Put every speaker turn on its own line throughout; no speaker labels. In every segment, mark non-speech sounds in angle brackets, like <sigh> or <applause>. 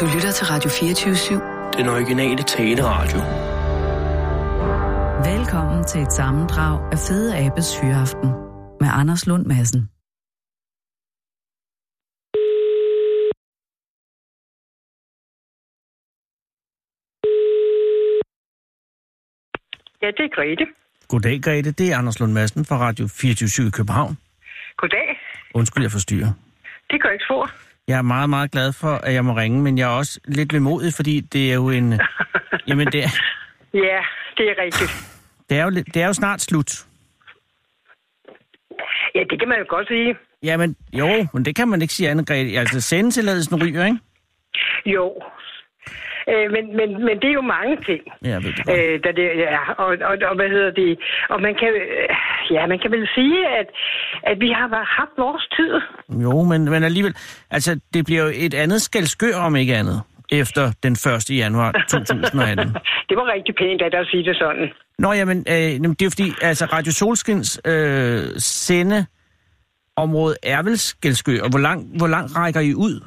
Du lytter til Radio 24-7.
Den originale taleradio.
Velkommen til et sammendrag af Fede Abes Hyreaften med Anders Lund Madsen.
Ja, det er Grete.
Goddag, Grete. Det er Anders Lund Madsen fra Radio 24 i København.
Goddag.
Undskyld, jeg forstyrrer.
Det gør ikke spor.
Jeg er meget, meget glad for, at jeg må ringe, men jeg er også lidt vemodig, fordi det er jo en... Jamen, det er,
Ja, det er rigtigt.
det er, jo, lidt- det er jo snart slut.
Ja, det kan man jo godt sige.
Jamen, jo, men det kan man ikke sige andet, Grete. Altså, sendetilladelsen ryger, ikke?
Jo. Øh, men, men, men det er jo mange ting.
Ja, jeg ved det godt.
Øh, der det, ja, og, og, og, hvad hedder det? Og man kan, øh, ja, man kan vel sige, at, at vi har bare haft vores tid.
Jo, men, men alligevel... Altså, det bliver jo et andet skældskør, om ikke andet, efter den 1. januar 2018.
Det var rigtig pænt af dig at sige det sådan.
Nå, jamen, øh, jamen, det er jo fordi, altså Radio Solskins øh, sendeområde er vel Skelskø, og hvor lang, hvor lang rækker I ud?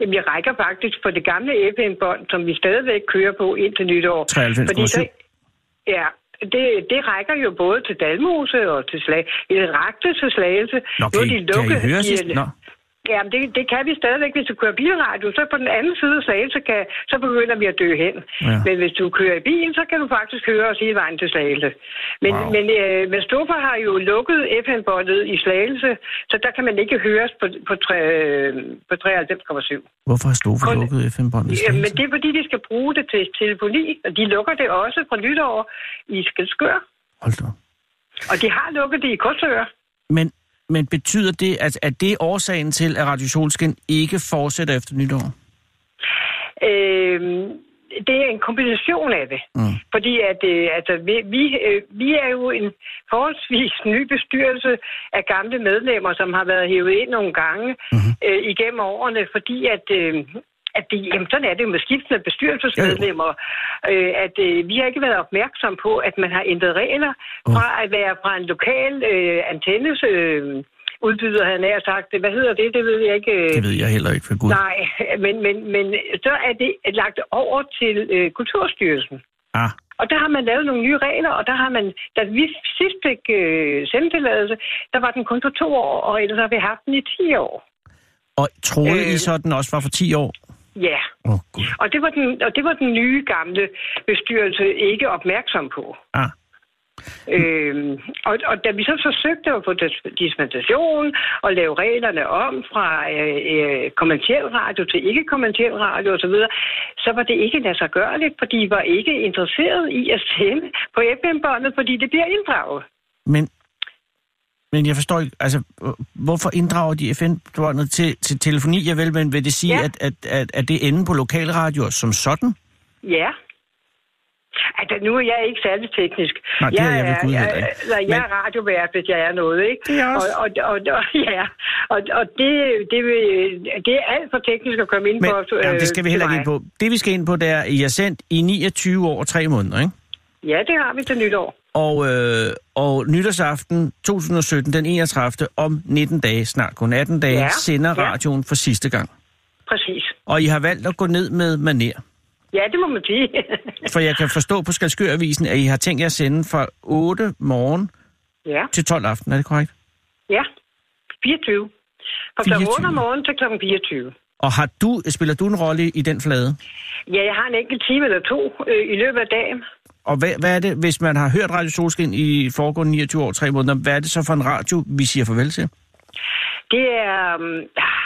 Jamen, jeg rækker faktisk på det gamle FM-bånd, som vi stadigvæk kører på indtil nytår.
93,7.
Fordi så, ja, det, det rækker jo både til Dalmose og til Slag. Det rakte til Slagelse.
Nå, kan, I, kan I høre sidst?
i-
Nå,
Jamen, det, det kan vi stadigvæk. Hvis du kører bilradio, så på den anden side af Slagelse, kan, så begynder vi at dø hen.
Ja.
Ja. Men hvis du kører i bilen, så kan du faktisk høre os hele vejen til Slagelse. Men,
Wow.
wow. men, øh, men Stoffer har jo lukket FM-båndet i Slagelse, så der kan man ikke høres på, på, tre- øh, på 93,7.
hvorfor har Stofe
Kun-
lukket FM-båndet?
Ja, men det er fordi, de skal bruge det til telefoni, og de lukker det også fra nytår i Skelskør.
Hold da. op.
Og de har lukket det i Korsør.
Men, men betyder det, at, at det er årsagen til, at Radio Solskin ikke fortsætter efter nytår?
Øh, det er en kombination af det.
Mm.
Fordi at, øh, altså, vi, vi, øh, vi er jo en forholdsvis ny bestyrelse af gamle medlemmer, som har været hævet ind nogle gange
Mhm.
mm-hmm. øh, igennem årene, fordi at... Øh, at det, jamen, sådan er det jo med skiftende bestyrelsesmedlemmer, øh, at øh, vi har ikke været opmærksom på, at man har ændret regler
Mm.
fra at være fra en lokal øh, antennes øh, udbyder, havde jeg nær sagt. Hvad hedder det? Det ved jeg ikke. øh,
Det ved jeg heller ikke, for Gud.
Nej, <laughs> men, men, men så er det lagt over til øh, Kulturstyrelsen.
Ah,
Og der har man lavet nogle nye regler, og der har man, da vi sidst fik øh, selvtilladelse, der var den kun på to år, og ellers har vi haft den i 10 år.
og troede øh... I
Øh.
så, at den også var for 10 år?
Ja,
Åh, oh, Gud.
og det, var den, og det var den nye gamle bestyrelse ikke opmærksom på.
Ah,
Øhm, og, og da vi så forsøgte at få dis- dispensation og lave reglerne om fra øh, øh, kommersiel radio til ikke kommersiel radio osv., så var det ikke ladsiggørligt, fordi de var ikke interesseret i at sende på FM-båndet, fordi det bliver inddraget.
Men, men jeg forstår ikke, altså, øh, hvorfor inddrager de FN-båndet til, til telefoni? Jeg vel, men vil det sige, ja.
Ja.
at, at, at, at det ender på lokalradioer som sådan?
Ja. Altså, nu er jeg ikke særlig teknisk.
Nej, det er jeg ved Gud
jeg,
heller ikke.
nej, jeg er
Men-
radiovært, hvis jeg er noget, ikke?
Det er jeg også.
Og, og, og, og, ja. og, og det, det, vil- det er alt for teknisk at komme ind
Men,
på. øh,
jamen, det skal vi heller
til
ikke
mig.
ind på. Det, vi skal ind på, det er, at I er sendt i 29 år og 3 måneder, ikke?
Ja, det har vi til nytår.
Og, øh, og nytårsaften 2017, den 31. om 19 dage, snart kun 18 dage, ja.
Ja,
sender
ja.
radioen for sidste gang.
Præcis.
Og I har valgt at gå ned med maner.
Ja, det må man sige. <laughs>
For jeg kan forstå på Skalskøravisen, at I har tænkt jer at sende fra 8 morgen
ja,
til 12 aften. Er det korrekt?
ja. 24. Fra kl. 8
24.
om morgenen til kl. 24.
Og har du, spiller du en rolle i den flade?
Ja, jeg har en enkelt time eller to øh, i løbet af dagen.
Og hvad, hvad er det, hvis man har hørt Radio Solskin i foregående 29 år, 3 måneder, hvad er det så for en radio, vi siger farvel til?
Det er... øhm, ah,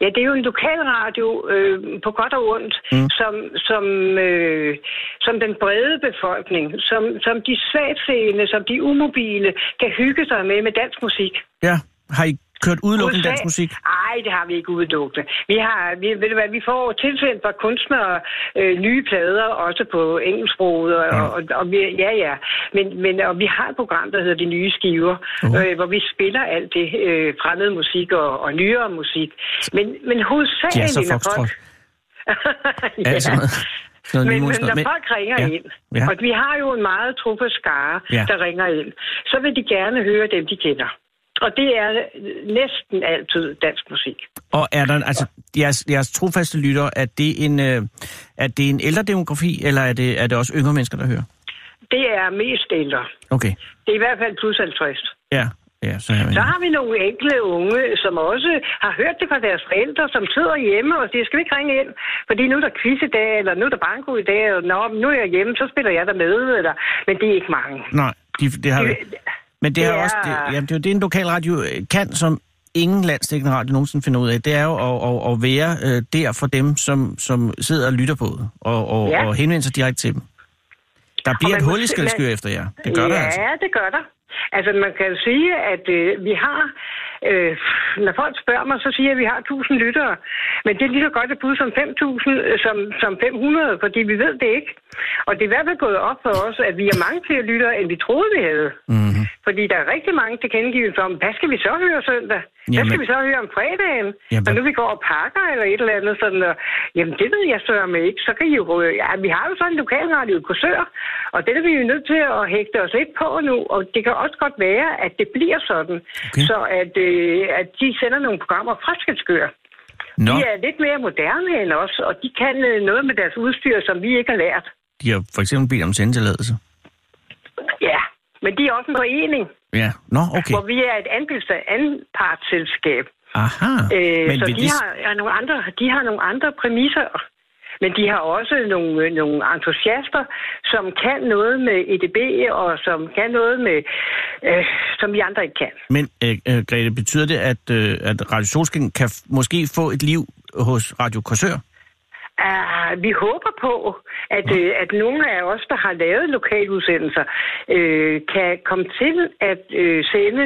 Ja, det er jo en lokalradio øh, på godt og ondt, mm. som, som, øh, som den brede befolkning, som, som de svagtseende, som de umobile, kan hygge sig med med dansk musik.
Ja, har I kørt udelukkende dansk musik?
Nej, det har vi ikke udelukkende. Vi, har, vi, ved du hvad, vi får tilsendt fra kunstnere øh, nye plader, også på engelsksproget, og, ja. og, og vi, ja, ja. Men, men og vi har et program, der hedder De Nye Skiver,
Uh.
uh. øh, hvor vi spiller alt det øh, fremmede musik og, og nyere musik. Men, men
De er
hovedsageligt,
så
når folk...
foxtrot.
<laughs>
Altså,
ja.
Ja, sådan noget. Sådan
Men,
noget
men
nymodens
når
noget.
folk ringer
ja,
ja. ind,
ja.
og vi har jo en meget truppe skare,
Ja.
ja. der ringer ind, så vil de gerne høre dem, de kender. Og det er næsten altid dansk musik.
Og er der, altså, jeres, jeres trofaste lytter, er det en, øh, er det en ældre demografi, eller er det, er det også yngre mennesker, der hører?
Det er mest ældre.
Okay,
Det er i hvert fald plus 50.
ja. Ja, så,
Så har vi nogle enkle unge, som også har hørt det fra deres forældre, som sidder hjemme og siger, skal vi ikke ringe ind? Fordi nu er der quiz i dag, eller nu er der banko i dag, og Nå, men nu er jeg hjemme, så spiller jeg der med. Eller... Men det er ikke mange.
Nej, de, det har vi. Men det,
det
har også, det,
er-
jamen, det er jo det, en lokal radio øh, kan, som ingen landsdækkende radio nogensinde finder ud af. Det er jo at, at, at være øh, der for dem, som, som sidder og lytter på det, og, og, ja.
Ja.
og henvender sig direkte til dem. Der bliver
man
et
må
hul i
se-
skældskør
man-
efter jer. Det gør
ja,
der altså.
Ja, det gør der. Altså, man kan jo sige, at øh, vi har... Øh, når folk spørger mig, så siger jeg, at vi har 1000 lyttere. Men det er lige så godt et bud som 5.000, øh, som, som 500, fordi vi ved det ikke. Og det er i hvert fald gået op for os, at vi er mange flere lyttere, end vi troede, vi havde.
Mhm.
Mm-hmm. Fordi der er rigtig mange tilkendegivelser om, hvad skal vi så høre søndag? Hvad
Jamen-
skal vi så høre om fredagen?
Jamen-
Jamen. Og nu vi går og pakker eller et eller andet sådan, og, jamen det ved jeg så med ikke. Så kan I jo, øh, ja, vi har jo sådan en lokalradio i Korsør, og det er vi jo nødt til at hægte os lidt på nu, og det kan også godt være, at det bliver sådan,
Okay.
okay. så at, øh, at de sender nogle programmer fra Skelskør.
Nå,
De er lidt mere moderne end os, og de kan øh, noget med deres udstyr, som vi ikke har lært.
de har for eksempel bedt om sendetilladelse.
Ja, men de er også en forening, okay.
Ja, nå, okay.
hvor vi er et andels- anpartsselskab.
Aha.
Øh,
Men
så
vil
de,
det...
har, er nogle andre, de har nogle andre præmisser, men de har også nogle, øh, nogle entusiaster, som kan noget med EDB, og som kan noget med, øh, som vi andre ikke kan.
Men øh, øh, Grete, betyder det, at, øh, at Radio Solskin kan f- måske få et liv hos Radio Korsør?
Uh, vi håber på, at,
Mm.
øh, at nogle af os, der har lavet lokaludsendelser, øh, kan komme til at øh, sende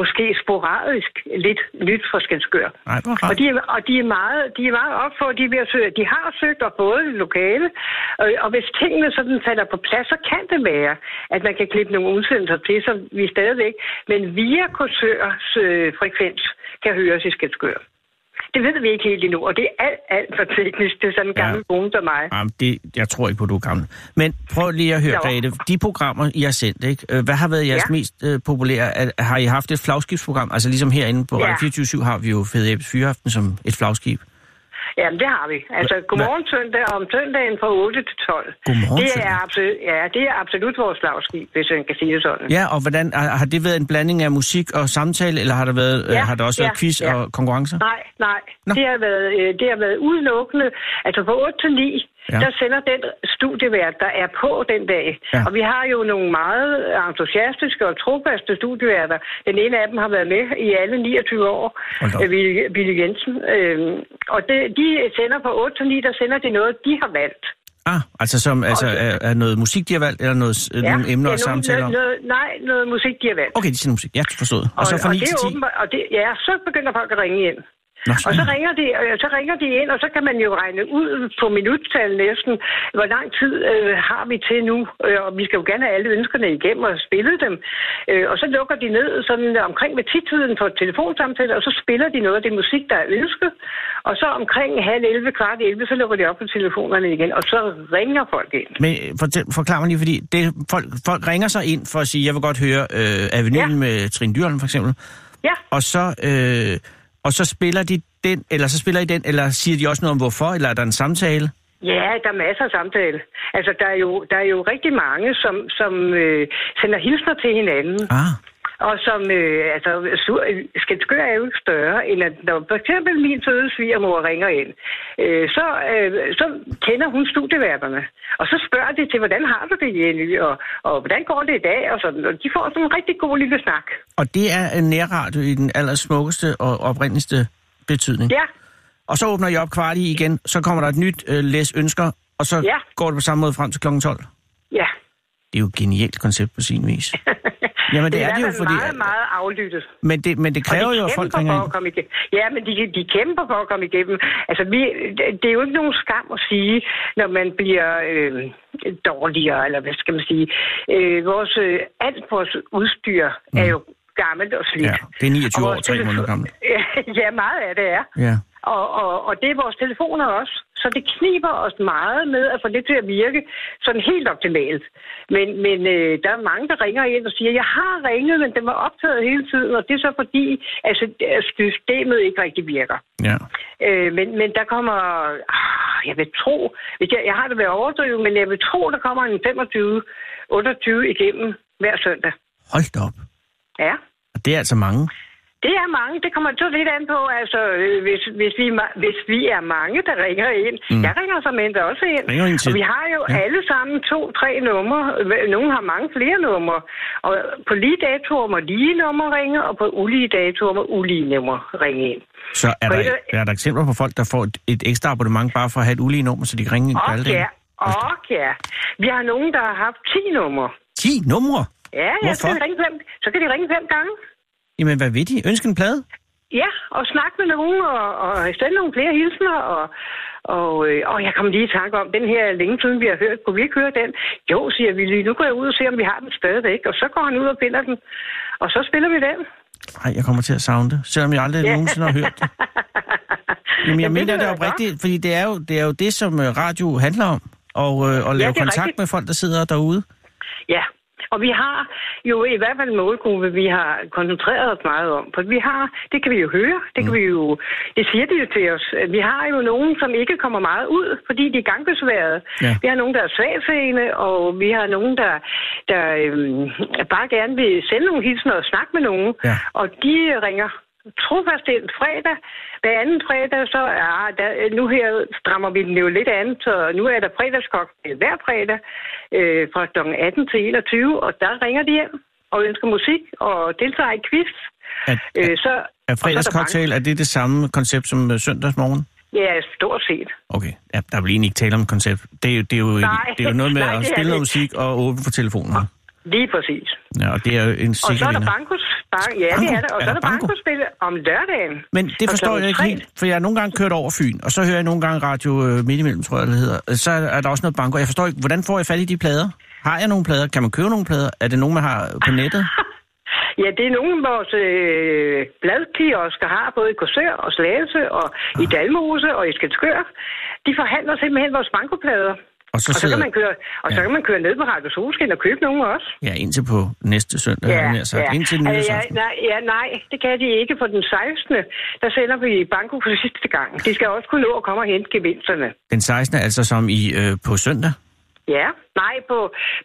måske sporadisk lidt nyt fra Skanskør.
Nej, hvor
Og
rart.
de, er, og de er meget, de er meget op for, de, er ved at søge, de har søgt og fået et lokale, og, og hvis tingene sådan falder på plads, så kan det være, at man kan klippe nogle udsendelser til, som vi stadigvæk, men via kursørs øh, frekvens, kan høres i Skelskør. Det ved vi ikke helt endnu, og det er alt, alt for teknisk til sådan en
Ja.
gammel kone som mig.
Jamen, det, jeg tror ikke på, du er gammel. Men prøv lige at høre,
Jo.
Grete. De programmer, I har sendt, ikke? Øh, hvad har været jeres ja.
Ja.
mest øh, populære? Er, har I haft et flagskibsprogram? Altså ligesom herinde på
Ja.
Radio 24 har vi jo Fede Abes Fyraften som et flagskib.
Jamen, det har vi. Altså, godmorgen søndag og om søndagen fra 8 til 12.
Godmorgen
det er
søndag.
absolut, ja, det er absolut vores slagskib, hvis man kan sige det sådan.
Ja, og hvordan har har det været en blanding af musik og samtale, eller har der, været, øh,
Ja,
har der også været
ja,
quiz
ja.
og konkurrencer?
Nej, nej.
Nå.
Det har, været, øh, det har været udelukkende. Altså fra 8 til 9,
Ja.
ja. der sender den studievært, der er på den dag.
Ja.
Ja. Og vi har jo nogle meget entusiastiske og trofaste studieværter. Den ene af dem har været med i alle 29 år,
Hold da op.
øh, Ville, Ville Jensen. Øhm, og det, de sender fra 8 til 9, der sender de noget, de har valgt.
Ah, altså som altså,
Og-
er, er noget musik, de har valgt, eller noget, ja. nogle emner
Ja,
og samtaler om?
noget, noget, Nej, noget musik, de har valgt.
Okay, de sender musik. Ja, forstået. Og, og så fra
og
9
det
til
er
10.
åbenbart- og det, ja, så begynder folk at ringe ind.
Nå,
Og så
sådan.
ringer, de, øh, så ringer de ind, og så kan man jo regne ud på minuttal næsten, hvor lang tid øh, har vi til nu. Øh, og vi skal jo gerne have alle ønskerne igennem og spille dem. Øh, og så lukker de ned sådan omkring med tiden på telefonsamtale, og så spiller de noget af det musik, der er ønsket. Og så omkring halv 11, kvart 11, så lukker de op på telefonerne igen, og så ringer folk ind.
Men øh, fortæl, forklar mig lige, fordi det, folk, folk ringer sig ind for at sige, jeg vil godt høre øh, Avenyen
Ja.
ja. med Trine Dyrholm for eksempel,
Ja,
og så, øh, og så spiller de den, eller så spiller I den, eller siger de også noget om hvorfor, eller er der en samtale?
Ja, der er masser af samtale. Altså, der er jo, der er jo rigtig mange, som, som øh, sender hilsner til hinanden.
Ah,
Og som, øh, altså, sur, Skelskør er jo ikke større, end at når for eksempel min søde svigermor ringer ind, øh, så, øh, så kender hun studieværterne. Og så spørger de til, hvordan har du det, Jenny, og, og hvordan går det i dag, og sådan. Og de får sådan en rigtig god lille snak.
og det er en nærradio i den allersmukkeste og oprindeligste betydning.
Ja,
Og så åbner I op kvart i igen, så kommer der et nyt øh, læs ønsker, og så
Ja.
går det på samme måde frem til kl. 12.
ja.
Det er jo et genialt koncept på sin
<laughs>
vis. Jamen det er det
i
jo,
hvert fald
fordi...
meget, meget aflyttet.
Men det, men det
Og de
kræver jo, at
kæmper
folk ringer
for
ind.
at komme igennem. Ja, men de, de kæmper for at komme igennem. Altså, vi, det er jo ikke nogen skam at sige, når man bliver øh, dårligere, eller hvad skal man sige. Øh, vores, øh, alt vores udstyr mm. er jo gammelt og slidt.
Ja, det er 29
Og
år,
vores
tre
telefon- <laughs>
måneder gammel.
ja, meget af det er.
Ja.
Og, og, og det er vores telefoner også, Så det kniber os meget med at få det til at virke sådan helt optimalt. Men, men øh, der er mange, der ringer ind og siger, jeg har ringet, men den var optaget hele tiden, og det er så fordi, at sy- at systemet ikke rigtig virker.
Ja.
Øh, men, men der kommer... Ah, jeg vil tro... Hvis jeg, jeg har det ved at overdrive, men jeg vil tro, der kommer en 25, 28 igennem hver søndag.
Hold da op.
Ja.
Og det er altså mange.
Det er mange. Det kommer så lidt an på, altså, øh, hvis, hvis, vi, er ma- hvis vi er mange, der ringer ind. Mm. Jeg ringer som endda også ind.
Ringer ind til-
Og vi har jo
Ja.
ja. alle sammen to-tre numre. Hva- Nogle har mange flere numre. Og på lige datoer må lige numre ringe, og på ulige datoer må ulige numre ringe ind.
Så er
Og
der,
et-
er der eksempler på folk, der får et, et ekstra abonnement bare for at have et ulige nummer, så de kan ringe ind på
Og
alle
ja,
dage?
og ja. Vi har nogen, der har haft 10 numre.
10 numre?
Ja, ja så,
Hvorfor?
kan de ringe fem, så kan de ringe fem gange.
Jamen, hvad ved de? Ønske en plade?
Ja, og snakke med nogen, og, og sende nogle flere hilsner, og, og, øh, og jeg kom lige i tanke om, den her er længe siden, vi har hørt, kunne vi ikke høre den? Jo, siger vi lige, nu går jeg ud og ser, om vi har den stadigvæk, og så går han ud og finder den, og så spiller vi den. <laughs>
Nej, jeg kommer til at savne det, selvom jeg aldrig nogensinde har hørt det.
<laughs>
Jamen,
Jamen,
jeg
det
mener
kan
det
jeg
oprigtigt, fordi det er, jo, det er jo det, som øh, radio handler om. Og, øh, og lave
det er
kontakt
rigtigt.
med folk, der sidder derude.
Ja, og vi har jo i hvert fald en målgruppe, vi har koncentreret os meget om. For vi har, det kan vi jo høre, det kan vi jo, det siger de jo til os. Vi har jo nogen, som ikke kommer meget ud, fordi de er gangbesværede.
Ja.
Ja. Vi har nogen, der er svagseende, og vi har nogen, der, der øhm, bare gerne vil sende nogle hilsner og snakke med nogen.
Ja.
Og de ringer trofast ind fredag. Hver anden fredag, så er der, nu her strammer vi den jo lidt an, så nu er der fredagscocktail hver fredag øh, fra kl. 18 til 21, og der ringer de hjem og ønsker musik og deltager i quiz.
At,
Øh, så,
at
og så er der
fredagscocktail, er det det samme koncept som øh, søndagsmorgen?
mange- Ja, stort set.
Okay, ja, der er vel egentlig ikke tale om koncept. Det er, jo- det er, jo,
Nej.
det er jo noget med
<laughs> Nej,
at
det er
spille noget
det.
musik og åbne for telefoner.
Lige præcis.
Ja, og det er jo en
Og så
sikker
er der
vinder.
bankos. Bank, ja, det er der. Og
Er
så
der
er der
banko?
bankospil om lørdagen.
Men det
Og
forstår
klokken
jeg ikke
tre.
helt, for jeg har nogle gange kørt over Fyn, og så hører jeg nogle gange radio øh, midt imellem, tror jeg, det hedder. Øh, Så er der også noget banko. Jeg forstår ikke, hvordan får jeg fat i de plader? Har jeg nogle plader? Kan man købe nogle plader? Er det nogen, man har på nettet?
Ja, det er nogle af vores øh, bladkiosker har, både i Korsør og Slagelse og i Dalmose og i Skelskør. De forhandler simpelthen vores bankoplader.
Og så
Og så
sidder
kan man køre, og så
Ja.
kan man køre ned på Radio Solskin og købe nogle også.
Ja, indtil på næste søndag, ja, jeg nær sagt. Ja. Indtil
ja, Altså, ja,
nyhedsaften.
nej, ja, nej, det kan de ikke på den 16. Der sender vi banko for sidste gang. De skal også kunne nå at komme og hente gevinsterne.
Den 16. altså som i øh, på søndag.
Ja, nej, på,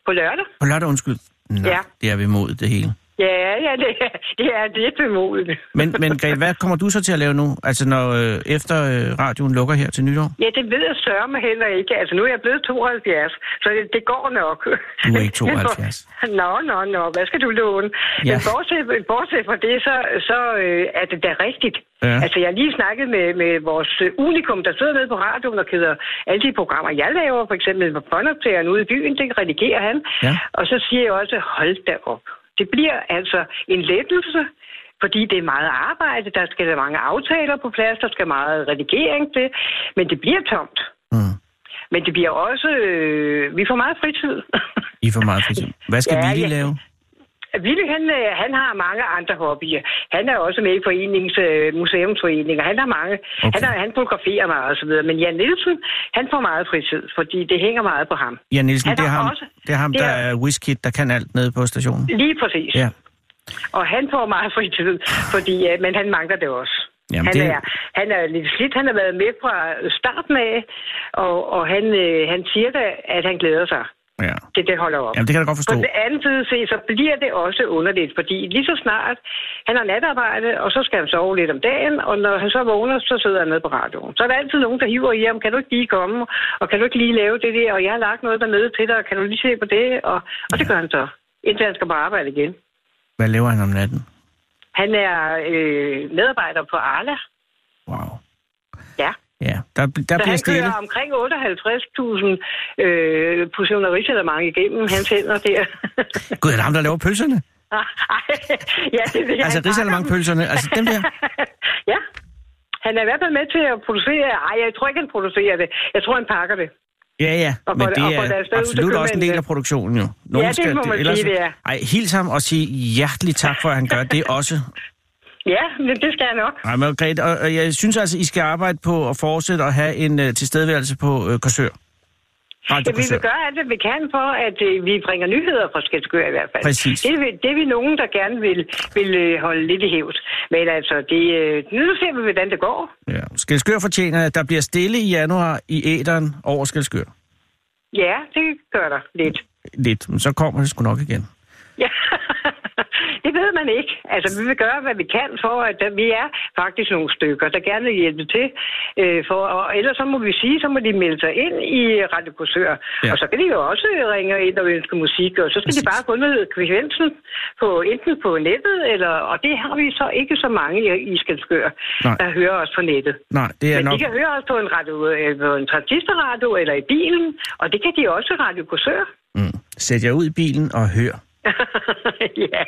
på lørdag.
På lørdag, undskyld. Nå, ja.
Ja.
det er ved mod det hele.
Ja, ja, det, er- det er lidt bemodigt.
Men, men Grete, hvad kommer du så til at lave nu? Altså når øh, efter øh, radioen lukker her til nytår?
Ja, det ved jeg sørme heller ikke. Altså, nu er jeg blevet 72, så det, det går nok.
Du er
<laughs>
ikke 72.
nå, nå, nå. Hvad skal du låne?
Ja.
Ja. Men bortset, bortset fra det, så, så øh, er det da rigtigt.
Ja.
Ja. Altså, jeg har lige snakket med, med vores øh, unikum, der sidder nede på radioen og keder alle de programmer, jeg laver. For eksempel på båndoptageren ude i byen, det redigerer han.
Ja.
Og så siger jeg også, hold da op. Det bliver altså en lettelse, fordi det er meget arbejde, der skal mange aftaler på plads, der skal meget redigering til, men det bliver tomt.
Mm.
Men det bliver også... Øh, vi får meget fritid. <laughs>
I får meget fritid. Hvad skal ja,
Ja,
vi lige
ja.
lave?
Ville, han, øh, han har mange andre hobbyer. Han er også med i foreningens øh, museumsforening, og han har mange.
Okay.
Okay. Han, er, han fotograferer meget og så videre. Men Jan Nielsen, han får meget fritid, fordi det hænger meget på ham.
Ja, Nielsen,
Han
det er
har
ham,
også-
det er ham
det
der
er-
er WizKid, der kan alt nede på stationen.
Lige præcis.
Ja.
Og han får meget fritid, fordi, øh, men han mangler det også.
Jamen,
han,
det-
er, han er lidt slidt, han har været med fra starten af, og, og han, øh, han siger da, at han glæder sig
ja.
til det holder op.
Jamen, det kan jeg godt forstå.
På den anden side se, så bliver det også underligt, fordi lige så snart han har natarbejde, og så skal han sove lidt om dagen, og når han så vågner, så sidder han nede på radioen. Så er der altid nogen, der hiver i ham, kan du ikke lige komme, og kan du ikke lige lave det der, og jeg har lagt noget dernede til dig, og kan du lige se på det, og, og det gør han så, indtil han skal på arbejde igen.
Hvad laver han om natten?
Han er øh, medarbejder på Arla,
Wow.
ja.
Ja, der, der
Så
bliver
han
stille.
kører omkring 58.000 øh, portioner mange igennem hans hænder der. <laughs>
Gud, er det ham, der laver pølserne?
Ej, ja, det vil jeg
altså,
ikke.
Rigsalermang-pølserne, altså dem
<laughs>
der.
ja. Han er i hvert fald med til at producere. Ej, jeg tror ikke, han producerer det. Jeg tror, han pakker det.
Ja, ja,
Og
men
får det- og
det
får det
er
afsted ud til
absolut også en del
købmændene.
af produktionen jo.
Ja, det må man sige, det er. <laughs>
Ej, hils ham og sig hjertelig tak for, at han gør det også.
Ja, men det skal jeg nok.
Nej, Margrethe, og, og jeg synes altså, I skal arbejde på at fortsætte at have en øh, tilstedeværelse på øh, Korsør. Radio
Ja, vi
Korsør.
vil gøre alt, hvad vi kan for, at øh, vi bringer nyheder fra Skælskør i hvert fald.
Præcis.
Det, vil, det er vi nogen, der gerne vil, vil øh, holde lidt i hævd. Men altså, det, øh, nu ser vi, hvordan det går.
Ja. Skelskør fortjener, at der bliver stille i januar i æderen over Skelskør.
Ja, det gør der lidt.
Lidt, men så kommer det sgu nok igen.
Ja. <laughs> det ved man ikke. Altså, vi vil gøre, hvad vi kan for, at der, vi er faktisk nogle stykker, der gerne vil hjælpe til. Øh, for, og ellers så må vi sige, så må de melde sig ind i Radio Korsør.
Ja.
Ja. Og så kan de jo også ringe ind og ønske musik, og så skal Præcis. de bare gå ned i frekvensen på, enten på nettet, eller, og det har vi så ikke så mange i, i Skelskør,
Nej.
der hører os på nettet.
Nej, det er
Men de
nok...
kan høre os på en, radio, øh, på en transistorradio eller i bilen, og det kan de også i Radio Korsør.
Mm. Sæt jer ud i bilen og hør.
<laughs> ja.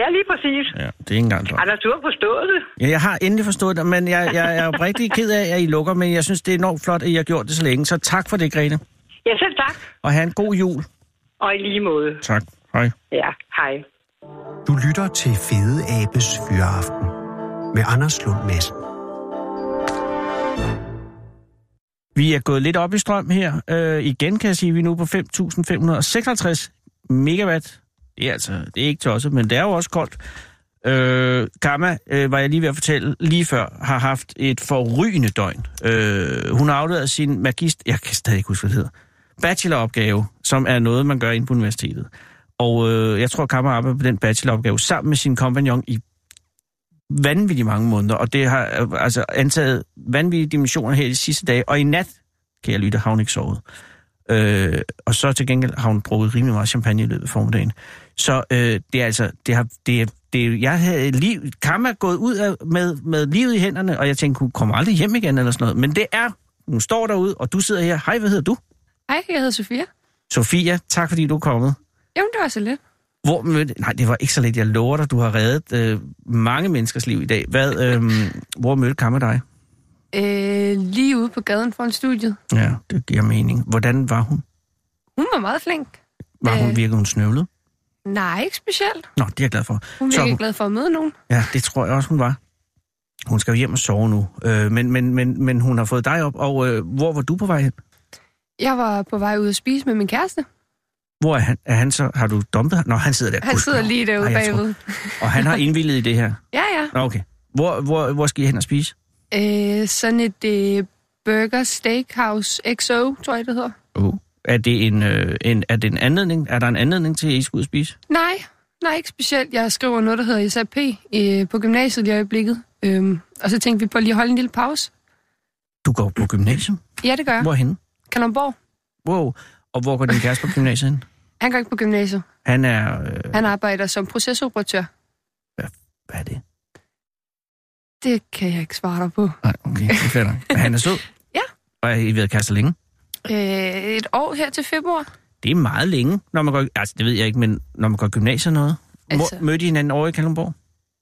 ja, lige præcis.
Ja, det er ikke engang løgn.
Anders, du har forstået det.
Ja, jeg har endelig forstået det, men jeg, jeg er oprigtig ked af, at I lukker, men jeg synes, det er enormt flot, at I har gjort det så længe. Så tak for det, Grene.
Ja, selv tak.
Og have en god jul.
Og i lige måde.
Tak. Hej.
Ja, hej.
Du lytter til Fede Abes Fyraften med Anders Lund Madsen.
Vi er gået lidt op i strøm her. Øh, igen kan jeg sige, at vi er nu på 5.556 megawatt. Det er altså, det er ikke tosset, men det er jo også koldt. Øh, Karma, øh, var jeg lige ved at fortælle lige før, har haft et forrygende døgn. Øh, hun har afleveret sin magister... Jeg kan stadig ikke huske, hvad det hedder. Bacheloropgave, som er noget, man gør inde på universitetet. Og øh, jeg tror, Karma arbejder på den bacheloropgave sammen med sin kompagnon i vanvittigt mange måneder, og det har øh, altså antaget vanvittige dimensioner her de sidste dage, og i nat, kan jeg lytte, har hun ikke sovet. Øh, og så til gengæld har hun drukket rimelig meget champagne i løbet af formiddagen. Så øh, det er altså, det har, det, er- det, er- jeg havde liv, karma gået ud af, med, med livet i hænderne, og jeg tænkte, hun kommer aldrig hjem igen eller sådan noget. Men det er, hun står derude, og du sidder her. Hej, hvad hedder du?
Hej, jeg hedder Sofia.
Sofia, tak fordi du er kommet.
Jamen, det var så lidt.
Hvor mødte... Nej, det var ikke så lidt. Jeg lover dig, du har reddet øh, mange menneskers liv i dag. Hvad, øh, hvor mødte Kamma dig?
Øh, lige ude på gaden foran studiet.
Ja, det giver mening. Hvordan var hun?
Hun var meget flink.
Var øh... hun
Øh.
virkelig hun snøvlet?
Nej, ikke specielt.
Nå, det er jeg glad for.
Hun
Så
var
hun-
ikke glad for at møde nogen.
Ja, det tror jeg også, hun var. Hun skal jo hjem og sove nu. Øh, men, men, men, men hun har fået dig op, og øh, hvor var du på vej hen?
Jeg var på vej ud at spise med min kæreste.
Hvor er han, er han så? Har du dumpet ham? Nå, han sidder der.
Han
Gud,
sidder
nå.
lige derude
Ej, jeg tror-
bagved.
Og han har indvillet i det her.
Ja, ja.
Nå, okay. Hvor, hvor, hvor skal I hen og spise?
Øh, sådan et øh, Burger Steakhouse XO, tror jeg, det hedder.
Uh. Er, det en, øh, en, er det en anledning? Er der en anledning til, at I skal ud og spise?
Nej, nej, ikke specielt. Jeg skriver noget, der hedder SAP øh, på gymnasiet i øjeblikket. Øhm, og så tænkte vi på lige at holde en lille pause.
Du går på gymnasium?
Ja, det gør jeg.
Hvorhen?
Kalundborg.
Wow. Og hvor går din kæreste på gymnasiet hen?
Han går ikke på gymnasiet.
Han er... Øh,
Han arbejder som procesoperatør.
hvad er det?
Det kan jeg ikke svare dig på.
Nej, okay, det fatter jeg. Men han er sød.
<laughs> Ja.
Og er I ved at kaste længe?
Øh, et år her til februar.
Det er meget længe, når man går... Altså, det ved jeg ikke, men når man går i gymnasiet og noget. Altså...
Altså-
Hvor mødte I hinanden over i Kalundborg?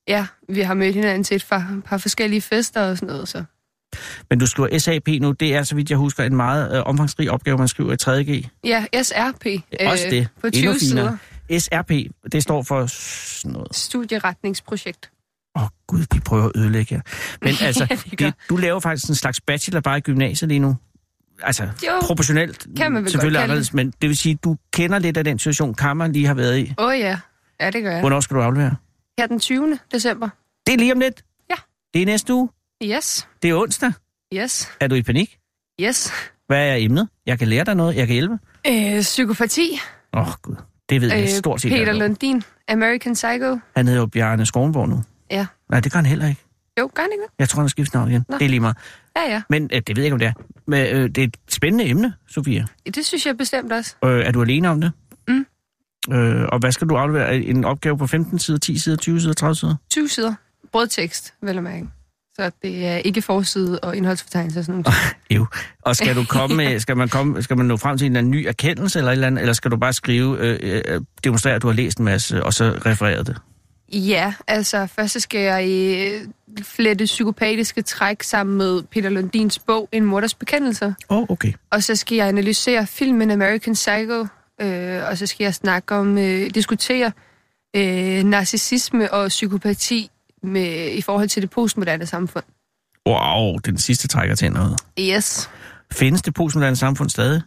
Ja, vi har mødt hinanden til et par, par forskellige fester og sådan noget, så...
Men du skriver SAP nu. Det er, så vidt jeg husker, en meget øh, omfangsrig opgave, man skriver i 3.G.
Ja, SRP.
Øh, Også det.
På
Endnu
20 sider.
finere. SRP, det står for sådan noget.
Studieretningsprojekt.
Åh oh, gud, de prøver at ødelægge jer.
<laughs>
Men altså,
Ja,
det
det gør.
du laver faktisk en slags bachelor bare i gymnasiet lige nu. Altså, jo,
Jo,
proportionelt
kan man vel godt
selvfølgelig
kalde
anderledes, men det vil sige, at du kender lidt af den situation, Kammer lige har været i.
Åh oh, ja. Ja, det gør jeg.
Hvornår skal du aflevere?
Her den 20. december.
Det er lige om lidt.
Ja.
Det er næste uge.
Yes,
Det er onsdag.
yes,
Er du i panik?
yes.
Hvad er emnet? Jeg kan lære dig noget. Jeg kan hjælpe.
Øh, psykopati.
Åh, oh, gud. Det ved jeg
Øh,
stort set.
Peter
allerede.
Lundin. American Psycho.
Han hedder jo Bjarne Skovenborg nu.
Ja.
Nej, det gør han heller ikke.
Jo, gør han ikke det?
Jeg tror, han har skiftet navn igen.
Nå.
Det er lige meget.
Ja, ja.
Men øh, det ved jeg ikke, om det er. Men, øh, det er et spændende emne, Sofia.
Det synes jeg bestemt også.
Øh, er du alene om det?
Mm.
Øh, og hvad skal du aflevere? En opgave på 15 sider, 10 sider, 20 sider, 30 sider?
20 sider. Brødtekst, vel at mærke. Så det er ikke forside og indholdsfortegnelse og sådan noget.
Jo. Og skal du
<laughs>
komme med, skal man komme, skal man nå frem til en eller anden ny erkendelse eller et eller andet, eller skal du bare skrive, øh, øh, demonstrere, at du har læst en masse, og så referere det?
Ja, altså først så skal jeg øh, flette psykopatiske træk sammen med Peter Lundins bog En Morders Bekendelser.
Åh, oh, okay.
Og så skal jeg analysere filmen American Psycho, øh, og så skal jeg snakke om, øh, diskutere øh, narcissisme og psykopati med, i forhold til det postmoderne samfund.
Wow, den sidste trækker til noget.
Yes.
Findes det postmoderne samfund stadig?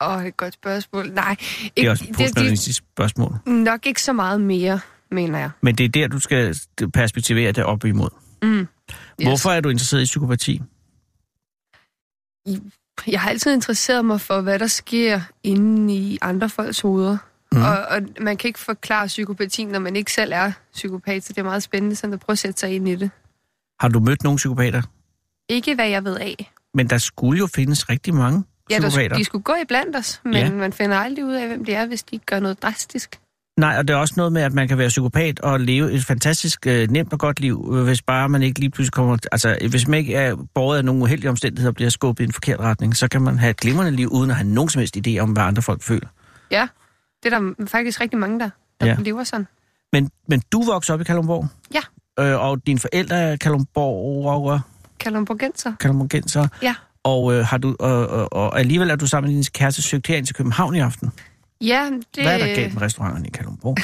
Og et godt spørgsmål. Nej,
Det
ikke-
er også et postmodernistisk spørgsmål.
nok ikke så meget mere, mener jeg.
Men det er der, du skal perspektivere det op imod.
Mm. Yes.
Hvorfor er du interesseret i psykopati?
Jeg har altid interesseret mig for, hvad der sker inde i andre folks hoveder.
Mhm.
Mm. Og, og man kan ikke forklare psykopatien, når man ikke selv er psykopat, så det er meget spændende sådan at prøve at sætte sig ind i det.
Har du mødt nogle psykopater?
Ikke hvad jeg ved af.
Men der skulle jo findes rigtig mange
Ja, der,
psykopater.
skulle- de skulle gå iblandt os, men
Ja.
ja. man finder aldrig ud af, hvem det er, hvis de ikke gør noget drastisk.
Nej, og det er også noget med, at man kan være psykopat og leve et fantastisk øh, nemt og godt liv, øh, hvis bare man ikke lige pludselig kommer... Altså, hvis man ikke er borget af nogle uheldige omstændigheder og bliver skubbet i en forkert retning, så kan man have et glimrende liv, uden at have nogen som helst idé om, hvad andre folk føler.
Ja, det er der faktisk rigtig mange, der, der
Ja.
ja. lever sådan.
Men, men du voksede op i Kalundborg?
Ja.
Øh, og dine forældre er Kalundborg og
Kalumborgenser.
Kalundborgenser.
Ja.
Og, øh, har du, og, og, og alligevel er du sammen med din kæreste søgt herind til København i aften.
Ja, det,
Hvad er der galt med restauranterne i Kalundborg?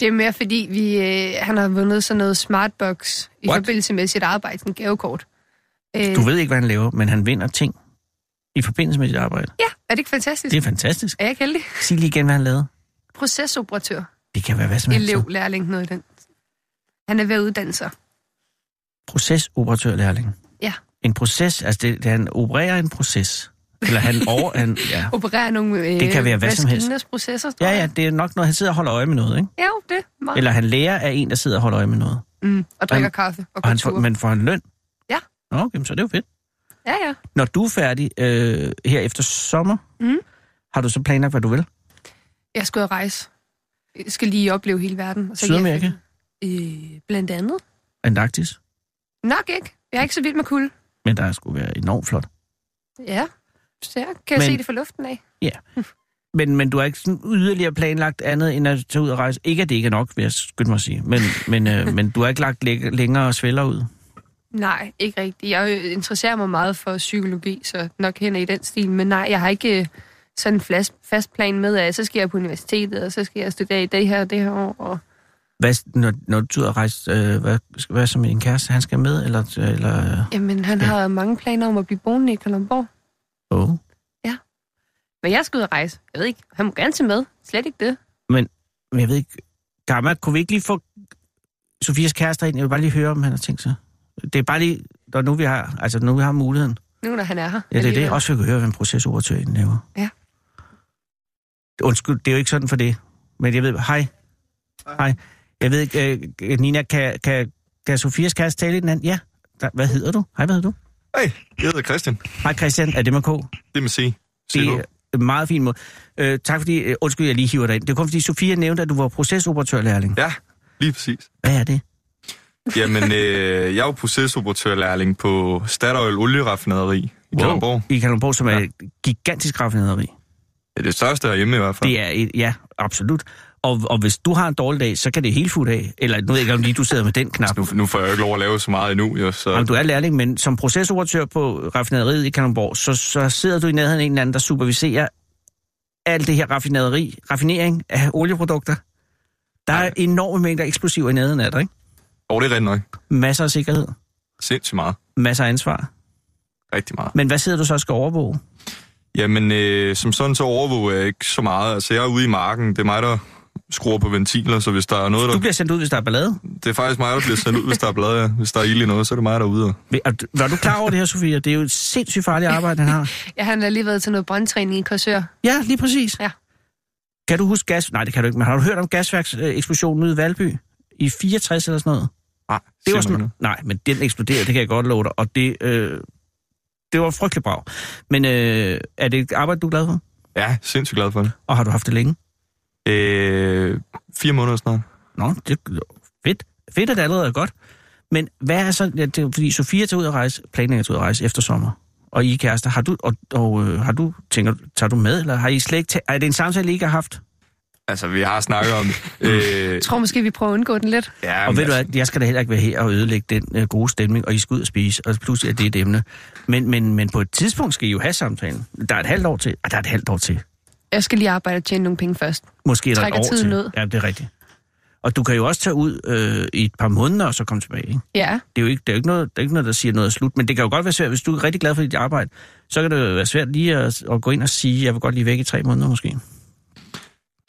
det er mere fordi, vi, øh, han har vundet sådan noget smartbox i
What?
forbindelse med sit arbejde, sådan en gavekort. Øh,
Du ved ikke, hvad han laver, men han vinder ting i forbindelse med sit arbejde.
Ja, er det ikke fantastisk?
Det
Det...
er fantastisk.
Er jeg ikke heldig?
Sig lige igen, hvad han lavede.
Procesoperatør,
Det kan være hvad som helst.
elev, lærling, noget i den. Han er ved at uddanne sig.
Procesoperatørlærling.
Ja.
En proces, altså det, det, han opererer en proces. Eller han over... Han,
<laughs>
ja.
Opererer nogle øh,
Det kan være hvad som helst.
maskiners processer, tror
ja, ja,
jeg.
det er nok noget, han sidder og holder øje med noget, ikke?
Ja, jo, det. er Meget.
Eller han lærer af en, der sidder og holder øje med noget.
Mm, og drikker
Han-
kaffe og
Og
går
han får,
tur.
men får han løn?
Ja.
Nå, okay, men så er det jo fedt.
Ja, ja.
Når du er færdig øh, her efter sommer,
Mhm.
har du så planlagt, hvad du vil?
Jeg skal ud og rejse. Jeg skal lige opleve hele verden. Og så
Sydamerika?
Øh, blandt andet.
Antarktis?
Nok ikke. Jeg er ikke så vild med kulde.
Men der skulle være enormt flot.
Ja, så jeg kan men...
Men-
se det for luften af.
Men, men du har ikke sådan yderligere planlagt andet, end at tage ud og rejse? Ikke, at det ikke er nok, vil jeg skynde mig at sige. Men, <laughs> men, øh, men du har ikke lagt læ- længere svæller ud?
Nej, ikke rigtigt. Jeg øh, interesserer mig meget for psykologi, så nok hen i den stil. Men nej, jeg har ikke øh, sådan en flas- fast plan med, at så skal jeg på universitetet, og så skal jeg studere i det her og det her år. Og...
Hvad, når, når du er rejst, øh, hvad, hvad som en kæreste, han skal med, eller... eller
Jamen, han
Ja.
har mange planer om at blive boende i Kalundborg.
oh.
Men jeg skal ud og rejse. Jeg ved ikke, han må gerne tage med. Slet ikke det.
Men jeg ved ikke, Gamma, kunne vi ikke lige få Sofias kæreste ind? Jeg vil bare lige høre, om han har tænkt sig. Det er bare lige, når nu vi har, altså nu vi har muligheden.
Nu, når han er her.
Ja, det er det.
Alligevel.
Også vi kan høre, hvad en procesoperatør egentlig laver.
Ja.
Undskyld, det er jo ikke sådan for det. Men jeg ved, hej. Hej. Jeg ved ikke, øh, Nina, kan, kan, kan Sofias kæreste tale i den anden? Ja. Der, hvad hedder du? Hej, hvad hedder du?
Hej, jeg hedder Christian.
Hej Christian, er det med K?
Det må sige.
Det er en meget fin måde. Øh, tak fordi, øh, undskyld, jeg lige hiver dig ind. Det er kun fordi, Sofia nævnte, at du var procesoperatørlærling.
Ja, lige præcis.
Hvad er det?
Jamen, øh, jeg er jo procesoperatørlærling på Statoil Olieraffinaderi i wow. Kalundborg.
I Kalundborg, som er et gigantisk raffinaderi.
Det er det største herhjemme i hvert fald.
Det er et, ja, absolut. Og, og hvis du har en dårlig dag, så kan det hele fuldt af. Eller nu ved jeg ikke, om lige du sidder med
<laughs>
den knap.
Nu, nu får jeg jo ikke lov at lave så meget endnu, jo, så...
Om du er lærling, men som procesoperatør på raffinaderiet i Kalundborg, så, så sidder du i nærheden af en eller anden, der superviserer alt det her raffinaderi, raffinering af olieprodukter. Der er enorme mængder eksplosiver i nærheden af dig, ikke?
Og det er rigtig nok.
Masser af sikkerhed,
Sindssygt meget.
masser af ansvar.
Rigtig meget.
Men hvad sidder du så og skal overvåge?
Jamen, øh, som sådan, så overvåger jeg ikke så meget. Altså, jeg er ude i marken. Det er mig, der skruer på ventiler, så hvis der er noget,
Du
der...
bliver sendt ud, hvis der er ballade.
Det er faktisk mig, der bliver sendt ud, hvis der er blade. ja. Hvis der er ild i noget, så er det mig, der er ude. og-
Er du- Var du klar over det her, Sofia? Det er jo et sindssygt farligt arbejde, han har.
Ja, han har lige været til noget brandtræning i Korsør.
Ja, lige præcis.
Ja.
Kan du huske gas... Nej, det kan du ikke, men har du hørt om gasværkseksplosionen ude i Valby? I 64 eller sådan noget?
Nej,
Ah, Det var
siger man
sådan...
ikke
Nej, men den eksploderede, det kan jeg godt love dig. Og det, øh... det var frygtelig brav. Men øh... er det et arbejde, du er glad for?
noget. Ja, sindssygt glad for det.
Og har du haft det længe?
Øh, fire måneder snart.
Nå, det er fedt. Fedt, at det allerede er godt. Men hvad er så... Ja, det er, jo fordi Sofia tager ud at rejse, planlægger at tage ud at rejse efter sommer. Og I er kærester, har du, og, og, øh, har du, tænker, du- tager du med, eller har I slet ikke, ta- er det en samtale, I ikke har haft?
Altså, vi har snakket om det. Øh,
Jeg tror måske, vi prøver at undgå den lidt.
ja,
Mm. Og
men
ved du
altså,
hvad, jeg skal da heller ikke være her og ødelægge den øh, gode stemning, og I skal ud og spise, og pludselig er det et emne. Men, men, men på et tidspunkt skal I jo have samtalen. Der er et halvt år til, og der er et halvt år til.
Jeg skal lige arbejde og tjene nogle penge først.
Måske er der et
Trækker
år
tiden
til.
ud.
Ja, det er rigtigt. Og du kan jo også tage ud øh, i et par måneder og så komme tilbage. Ikke?
Ja,
Det er jo ikke, det er jo ikke, noget, der, er ikke noget, der siger noget er slut, men det kan jo godt være svært, hvis du er rigtig glad for dit arbejde, så kan det jo være svært lige at, at gå ind og sige, jeg vil godt lige væk i tre måneder måske.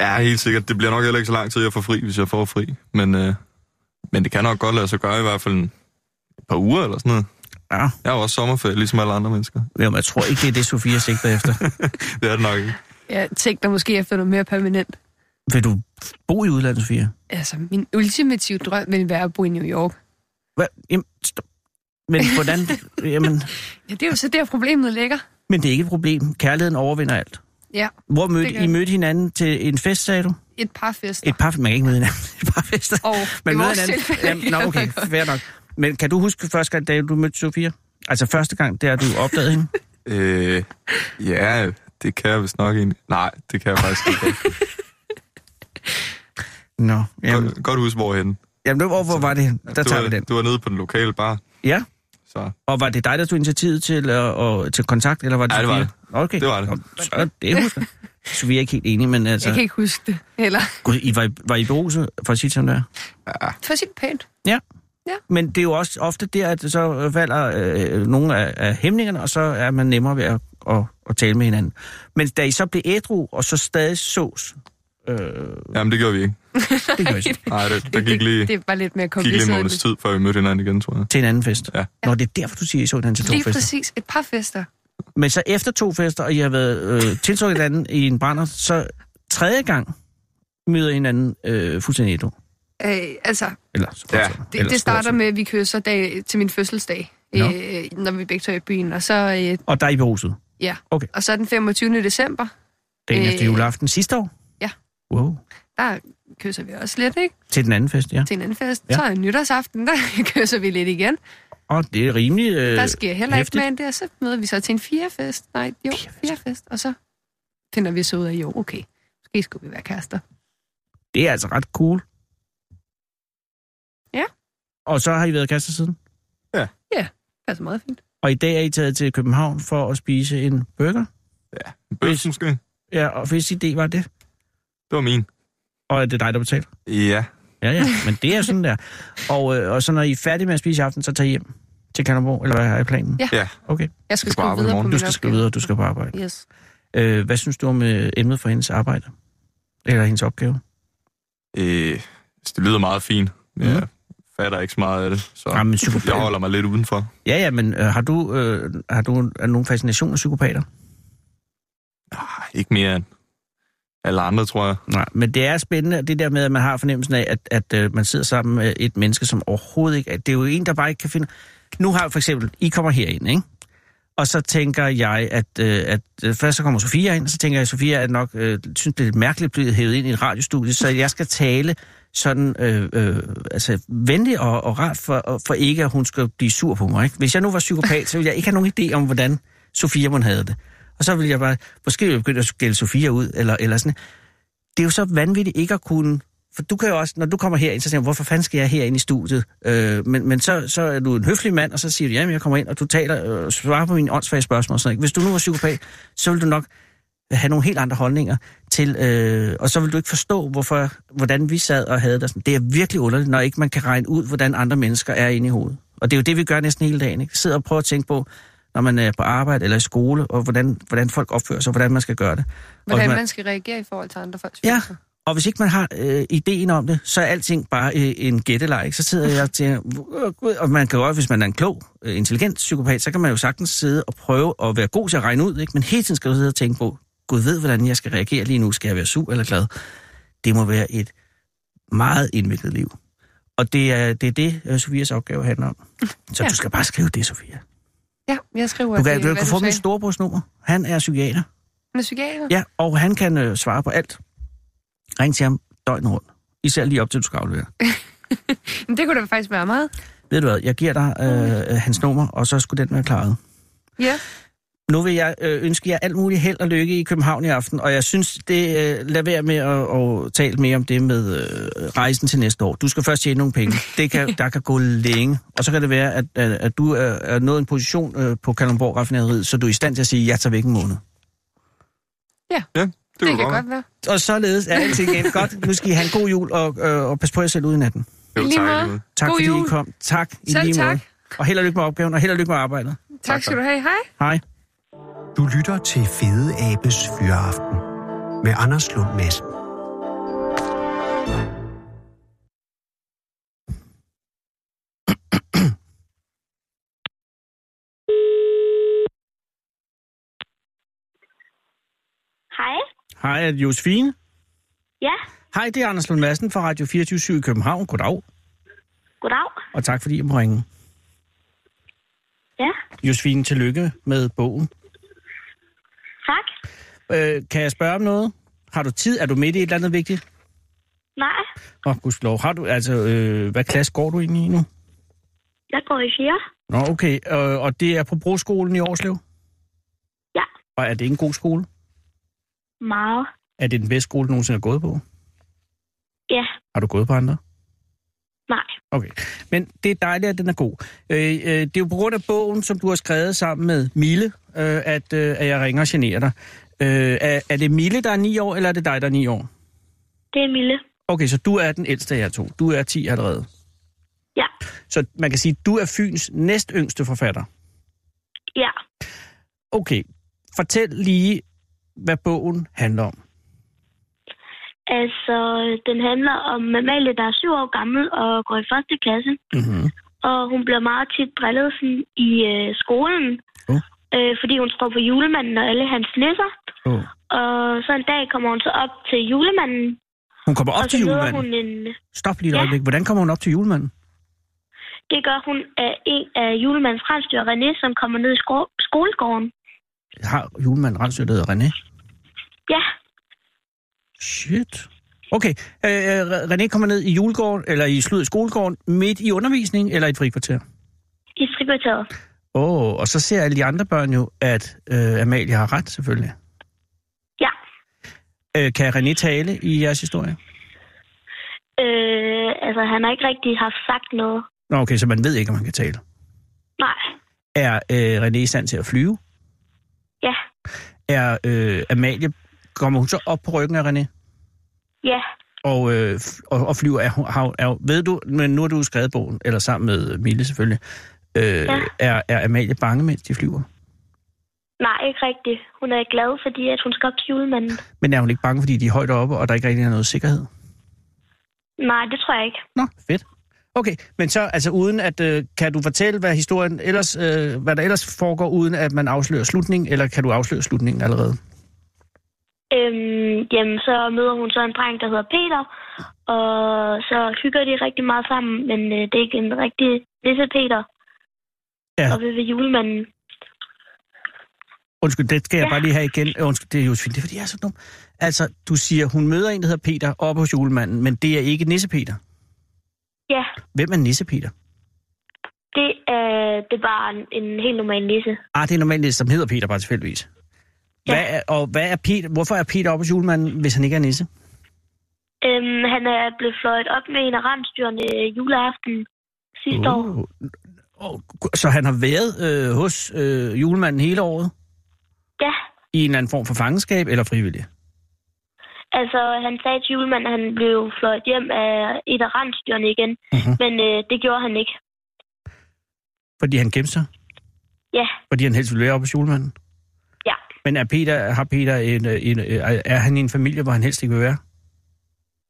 Ja, helt sikkert. Det bliver nok heller ikke så lang tid, jeg får fri, hvis jeg får fri. Men, øh, men det kan nok godt lade sig gøre i hvert fald en et par uger eller sådan noget.
Ja,
Jeg har jo også sommerferie, ligesom alle andre mennesker.
men jeg tror ikke, det er det, Sofia sigter efter.
Det er det nok ikke.
jeg tænkte måske efter noget mere permanent.
Vil du bo i udlandet, Sofia?
Altså, min ultimative drøm ville være at bo i New York.
Hvad? Jamen, stop. Men
<laughs>
hvordan? Jamen,
Ja, det er jo så der, problemet ligger.
men det er ikke et problem. Kærligheden overvinder alt.
Ja,
Hvor mødte
Det gør
I
den.
mødte hinanden til en fest, sagde du?
et par fester.
Et par, man kan ikke møde hinanden. til Et par fester.
Og i
Man møder
vores
hinanden.
tilfælde-
Jamen, nå, okay, fair nok. Men kan du huske første gang, da du mødte Sofia? Altså første gang, der du opdagede hende?
Øh, ja, det kan jeg vist nok egentlig. Nej, det kan jeg faktisk
<laughs>
ikke.
Nå, jamen,
Godt, godt huske, hvorhen.
jamen hvor, hvor var det? Der
du
tager
var,
vi den.
Du var nede på den lokale bar,
Ja,
så
og var det dig, der tog initiativet til, og, og, til kontakt, eller var det
Ja, det var
Sofia? Okay.
Det var det.
Nå, Så, det husker jeg. Sofia er ikke helt enig, men altså...
Jeg kan ikke huske det heller.
Gud, I var, var I beruset, for at sige det, som det er?
For sit pænt.
Men det er jo også ofte der, at så falder øh, nogle af, af hæmningerne, og så er man nemmere ved at, at, at tale med hinanden. Men da I så blev ædru, og så stadig sås, øh,
jamen det gjorde vi ikke.
det gjorde I så
Nej, det, der
<laughs>
gik lige,
Det var lidt mere
gik lige en
kompliceret. end
måneds
det.
tid, før vi mødte hinanden igen, tror jeg.
til en anden fest.
Ja.
Nå, det er derfor, du siger, I så hinanden til to
Lige
fester.
præcis. Et par fester.
Men så efter to fester, og I har været øh, tiltrukket hinanden i en brænder, så tredje gang møder I hinanden øh, fuldstændig ædru.
Øh, altså,
Eller, så
Ja.
det, det starter med, at vi kører så dag, til min fødselsdag,
Nå.
øh, når vi begge tager i byen. Og så, øh,
Og der er I beruset.
og så den 25. december,
Dagen øh, efter
Øh,
juleaften sidste år?
ja.
Wow.
der kysser vi også lidt, ikke?
Til den anden fest, ja.
Til en anden fest.
Ja.
Ja. Så er nytårsaften, der <laughs> kysser vi lidt igen.
Og det er rimelig... Øh,
Der sker heller
hæftigt.
ikke mere end det, og så møder vi så til en firefest. Nej, jo, firefest. Og så finder vi så ud af, jo, okay, måske skulle vi være kærester.
Det er altså ret cool.
Ja.
Og så har I været kærester siden?
Passer altså meget fint.
Og i dag er I taget til København for at spise en burger?
Bøs, måske.
Ja, og hvis idé var det?
Det var min.
Og er det dig, der betaler?
Ja,
Ja, ja, men det er sådan der. Og, øh, og så når I er færdige med at spise i aften, så tager I hjem til Kanderborg, eller hvad har I planen?
Ja.
ja.
Okay,
Jeg skal
Du skal
skrive
arbejde i
videre på
morgen.
du
min
skal skrive
opgave.
videre, og du skal på arbejde.
Yes.
Øh, hvad synes du om øh, emnet for hendes arbejde? Eller hendes opgave?
Øh, det lyder meget fint. men Jeg
Mhm.
fatter ikke så meget af det, så
Jamen,
jeg
psykopat.
holder mig lidt udenfor.
Ja, ja, men øh, har du, øh, har du er nogen fascination af psykopater?
Ah, Ikke mere end alle andre, tror jeg.
Nej, men det er spændende, det der med, at man har fornemmelsen af, at, at øh, man sidder sammen med et menneske, som overhovedet ikke... Det er jo en, der bare ikke kan finde... Nu har jeg for eksempel, I kommer herind, ikke? Og så tænker jeg, at, øh, at øh, først så kommer Sofia ind, så tænker jeg, at Sofia er nok, øh, synes, det er lidt mærkeligt at blive hævet ind i et radiostudie, så jeg skal tale sådan øh, øh, altså venlig og, og rart, for, og- for ikke at hun skal blive sur på mig. Ikke? Hvis jeg nu var psykopat, så ville jeg ikke have nogen idé om, hvordan Sofia mon havde det. Og så ville jeg bare, måske ville jeg begynde at skælde Sofia ud, eller, eller sådan det er jo så vanvittigt ikke at kunne... For du kan jo også, når du kommer herind, så siger du, hvorfor fanden skal jeg herind i studiet? Øh, men men så, så er du en høflig mand, og så siger du, jamen jeg kommer ind, og du taler øh, og svarer på mine åndssvage spørgsmål. Og sådan, noget, ikke? Hvis du nu var psykopat, så ville du nok have nogle helt andre holdninger til, øh, og så vil du ikke forstå, hvorfor, hvordan vi sad og havde det. og sådan. Det er virkelig underligt, når ikke man kan regne ud, hvordan andre mennesker er inde i hovedet. Og det er jo det, vi gør næsten hele dagen. Ikke? Sidder og prøver at tænke på, når man er på arbejde eller i skole, og hvordan, hvordan folk opfører sig, og hvordan man skal gøre det. og
Hvordan
hvis man-
man skal reagere i forhold til andre folks
Ja,
følelser.
og hvis ikke man har øh, ideen om det, så er alting bare øh, en gætteleg. ikke? Så sidder jeg og tænker, "Åh, Gud," og man kan jo også, hvis man er en klog, øh, intelligent psykopat, så kan man jo sagtens sidde og prøve at være god til at regne ud, ikke? men hele tiden skal du sidde og tænke på, Gud ved, hvordan jeg skal reagere lige nu. Skal jeg være sur eller glad? Det må være et meget indviklet liv. Og det er det, er det øh, Sofias opgave handler om. Så ja.
Ja.
du skal bare skrive det, Sofia.
Ja, jeg skriver,
Du kan,
det,
du
hvad
kan få min
sagde.
storebrors nummer. Han er psykiater.
Med psykiater?
Ja, og han kan øh, svare på alt. Ring til ham døgnet rundt. Især lige op til, du skal aflevere.
Men det kunne da faktisk være meget.
Ved du hvad, jeg giver dig øh, øh, hans nummer, og så skulle den være klaret.
Ja,
Nu vil jeg øh, ønske jer alt muligt held og lykke i København i aften, og jeg synes, det øh, lad være med at, at tale mere om det med øh, rejsen til næste år. Du skal først tjene nogle penge. Det kan, der kan gå længe. Og så kan det være, at, at, at du er, er nået en position øh, på Kalundborg Raffinaderiet, så du er i stand til at sige, jeg tager væk en måned.
Ja, det, kunne
det kan
godt
godt være.
Og således er alting igen. Godt, nu skal I have en god jul, og, øh, og pas på jer selv ude i natten.
være.
I
Jo,
lige
tak,
måde.
alligevel.
Tak
God
fordi
jul.
I kom. Tak i
Selv
lige måde.
tak.
Og held og lykke med opgaven, og held og lykke med arbejdet.
Tak skal du have. Hej.
Hej.
Du lytter til Fede Abes Fyraften med Anders Lund Madsen.
Hej.
Hej, er det Josefine?
Ja,
Hej, det er Anders Lund Madsen fra Radio 24 i København. Goddag,
goddag.
og tak fordi I må ringe.
Ja,
Josefine, tillykke med bogen.
tak.
Øh, kan jeg spørge om noget? Har du tid? Er du midt i et eller andet vigtigt?
Nej,
Åh, oh, gudskelov. Har du, altså, øh, hvad klasse går du egentlig i nu?
jeg går i fjerde.
Nå, okay. Øh, og det er på broskolen i Årslev?
Ja.
Og er det en god skole?
Meget.
Er det den bedste skole, du nogensinde har gået på?
Ja,
Har du gået på andre?
nej.
Okay. Men det er dejligt, at den er god. Øh, øh, det er jo på grund af bogen, som du har skrevet sammen med Mille, øh, at, øh, at jeg ringer og generer dig. Øh, er, er det Mille, der er 9 år, eller er det dig, der er 9 år?
Det er Mille.
Okay, så du er den ældste af jer to. Du er 10 allerede.
Ja,
Så man kan sige, at du er Fyns næst yngste forfatter.
ja.
Okay, fortæl lige, hvad bogen handler om.
Altså, den handler om Amalie, der er syv år gammel og går i første klasse.
Mm-hmm.
Og hun bliver meget tit drillet sådan, i øh, skolen.
Åh.
Øh, fordi hun står på julemanden og alle hans nisser.
Oh.
Og så en dag kommer hun så op til julemanden.
Hun kommer op
og så
til
møder
julemanden.
hun
Hun...
en...
Stop lige et
Ja.
øjeblik. Hvordan kommer hun op til julemanden?
Det gør hun af en af julemandens rensdyr, René, som kommer ned i sko- skolegården.
Har julemanden rensdyr, der hedder René?
Ja,
Shit. Okay, øh, øh, René kommer ned i julegården, eller i slut skolegården, midt i undervisning eller i et frikvarter.
i frikvarteret.
Åh, oh, og så ser alle de andre børn jo, at øh, Amalie har ret, selvfølgelig.
Ja.
Øh, kan René tale i jeres historie?
Øh, altså, han har ikke rigtig haft sagt noget.
Nå, okay, så man ved ikke, om han kan tale.
Nej.
Er øh, René i stand til at flyve?
Ja.
Er øh, Amalie, kommer hun så op på ryggen af René?
Ja.
og, øh, f- og, og flyver er, er, er, ved du, men nu har du skrevet bogen, eller sammen med Mille selvfølgelig, øh, ja.
Ja.
er, er Amalie bange, mens de flyver?
Nej, ikke rigtigt. Hun er glad, fordi at hun skal op til julemanden.
Men er hun ikke bange, fordi de er højt oppe, og der ikke rigtig er noget sikkerhed?
Nej, det tror jeg ikke.
Nå, fedt. Okay, men så altså uden at, øh, kan du fortælle, hvad historien ellers, øh, hvad der ellers foregår, uden at man afslører slutningen, eller kan du afsløre slutningen allerede?
Øhm, jamen, så møder hun så en dreng, der hedder Peter, og så hygger de rigtig meget sammen, men øh, det er ikke en rigtig nisse Peter.
Ja.
Og ved julemanden.
Undskyld, det skal jeg
Ja.
bare lige have igen. Øh, Undskyld, det er Josefine, det er fordi, jeg er så dum. Altså, du siger, hun møder en, der hedder Peter, oppe hos julemanden, men det er ikke Nisse Peter.
Ja,
Hvem er Nisse Peter?
det, øh, det er bare en, en helt normal nisse.
Ah, det er normalt, som hedder Peter bare tilfældigvis.
Ja.
Hvad er, og hvad er Peter, hvorfor er Peter oppe hos julemanden, hvis han ikke er nisse?
Øhm, han er blevet fløjet op med en af rensdyrene øh, juleaften sidste år.
Uh. Og, så han har været øh, hos øh, julemanden hele året
Ja,
i en eller anden form for fangenskab eller frivillig?
Altså, han sagde til julemanden, at han blev fløjet hjem af et af rensdyrene igen.
Mhm.
Men øh, det gjorde han ikke.
Fordi han gemte sig?
Ja,
Fordi han helst ville være oppe hos julemanden?
ja.
Men er Peter, har Peter en, øh, en, øh, er han i en familie, hvor han helst ikke vil være?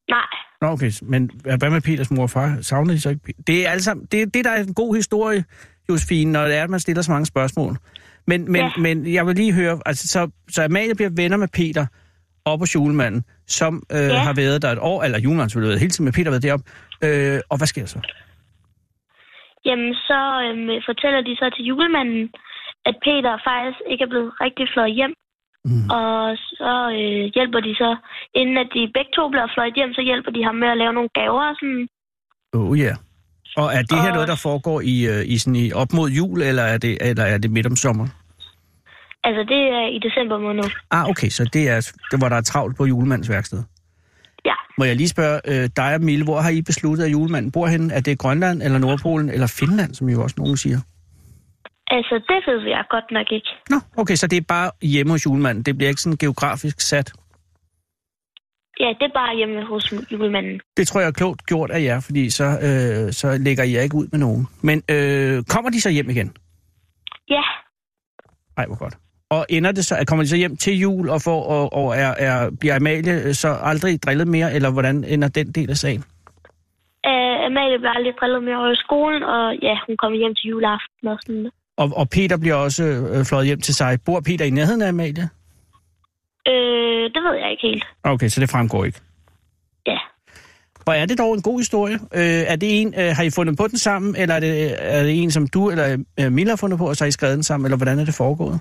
Nej.
Nå, okay, men hvad med Peters mor og far? Savner de så ikke? Pe- Det er altså, det, det der er en god historie, Josefine, når det er, at man stiller så mange spørgsmål. Men, men, ja.
Ja.
men jeg vil lige høre, altså, så, så Amalie bliver venner med Peter op hos julemanden, som øh, ja.
Ja.
har været der et år, eller julemanden selvfølgelig har været hele tiden, men Peter har været deroppe. Øh, og hvad sker der så?
Jamen, så øhm, fortæller de så til julemanden, at Peter faktisk ikke er blevet rigtig fløjet hjem.
Mhm.
Mm. Og så øh, hjælper de så, inden at de begge to bliver fløjet hjem, så hjælper de ham med at lave nogle gaver og sådan.
Oh ja. Yeah. Og er det her
Og-
noget, der foregår i, øh, i, sådan, i op mod jul, eller er det, eller er det midt om sommeren?
Altså, det er i december måned.
Ah, okay, så det er, det, hvor der er travlt på julemandens værksted.
Ja.
Må jeg lige spørge øh, dig og Mille, hvor har I besluttet, at julemanden bor henne? Er det Grønland eller Nordpolen eller Finland, som jo også nogen siger?
Altså, det ved jeg godt nok ikke.
Nå, okay, så det er bare hjemme hos julemanden. Det bliver ikke sådan geografisk sat.
Ja, det er bare hjemme hos julemanden.
Det tror jeg er klogt gjort af jer, fordi så, øh, så lægger I jer ikke ud med nogen. Men øh, kommer de så hjem igen?
Ja,
Nej, hvor godt. Og ender det så, at kommer de så hjem til jul og, får, og, og er, er, bliver Amalie øh, så aldrig drillet mere, eller hvordan ender den del af sagen?
øh, Amalie blev aldrig drillet mere over i skolen, og ja, hun kom hjem til juleaften og sådan noget.
Og, og Peter bliver også øh, fløjet hjem til sig. Bor Peter i nærheden af Amalie?
Øh, det ved jeg ikke helt.
Okay, så det fremgår ikke.
Ja.
Hvor er det dog en god historie? Øh, er det en, øh, har I fundet på den sammen, eller er det, øh, er det en, som du eller øh, Mille har fundet på, og så har I skrevet den sammen, eller hvordan er det foregået?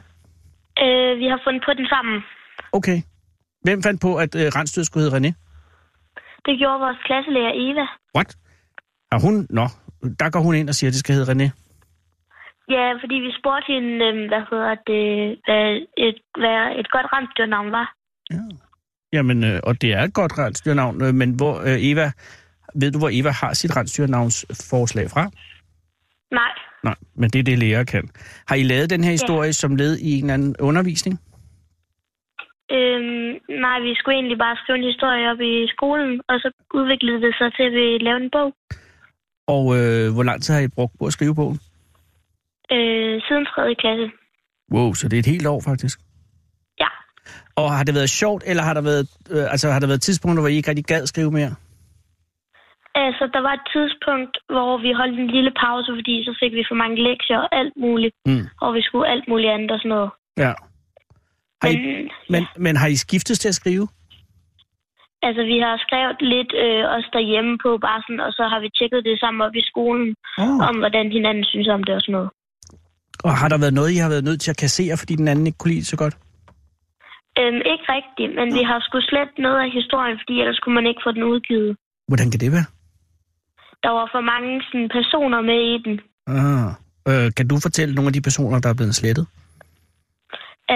Øh, vi har fundet på den sammen.
Okay. Hvem fandt på, at øh, Rensdyr skulle hedde René?
Det gjorde vores klasselærer Eva.
What? Er hun? Nå, der går hun ind og siger, at det skal hedde René.
Ja, fordi vi spurgte hende, øhm, hvad hedder det, hvad et, hvad et godt rensdyrnavn var.
Jamen, øh, og det er et godt rensdyrnavn, øh, men hvor øh, Eva, ved du, hvor Eva har sit rensdyrnavnsforslag fra?
Nej,
Nej, men det er det, læger kan. Har I lavet den her historie som led i en eller anden undervisning?
øhm, nej, vi skulle egentlig bare skrive en historie op i skolen, og så udviklede det sig til, at vi lavede en bog
Og øh, hvor lang tid har I brugt på at skrive bogen?
øh, siden 3. klasse.
Wow, så det er et helt år faktisk.
Ja,
Og har det været sjovt, eller har der været, øh, altså, har der været tidspunkter, hvor I ikke rigtig gad skrive mere?
altså der var et tidspunkt, hvor vi holdt en lille pause, fordi så fik vi for mange lektier og alt muligt,
Mm.
og vi skulle alt muligt andet og sådan noget.
Ja. Har I,
Men
men, men har I skiftet til at skrive?
altså, vi har skrevet lidt øh, os derhjemme på bare sådan, og så har vi tjekket det sammen op i skolen,
Oh.
om hvordan hinanden synes om det og sådan noget.
Og har der været noget, I har været nødt til at kassere, fordi den anden ikke kunne lide det så godt?
Øhm, ikke rigtigt, men vi har sgu slet noget af historien, fordi ellers kunne man ikke få den udgivet.
Hvordan kan det være?
Der var for mange sådan, personer med i den.
Ah. Øh, kan du fortælle nogle af de personer, der er blevet slettet?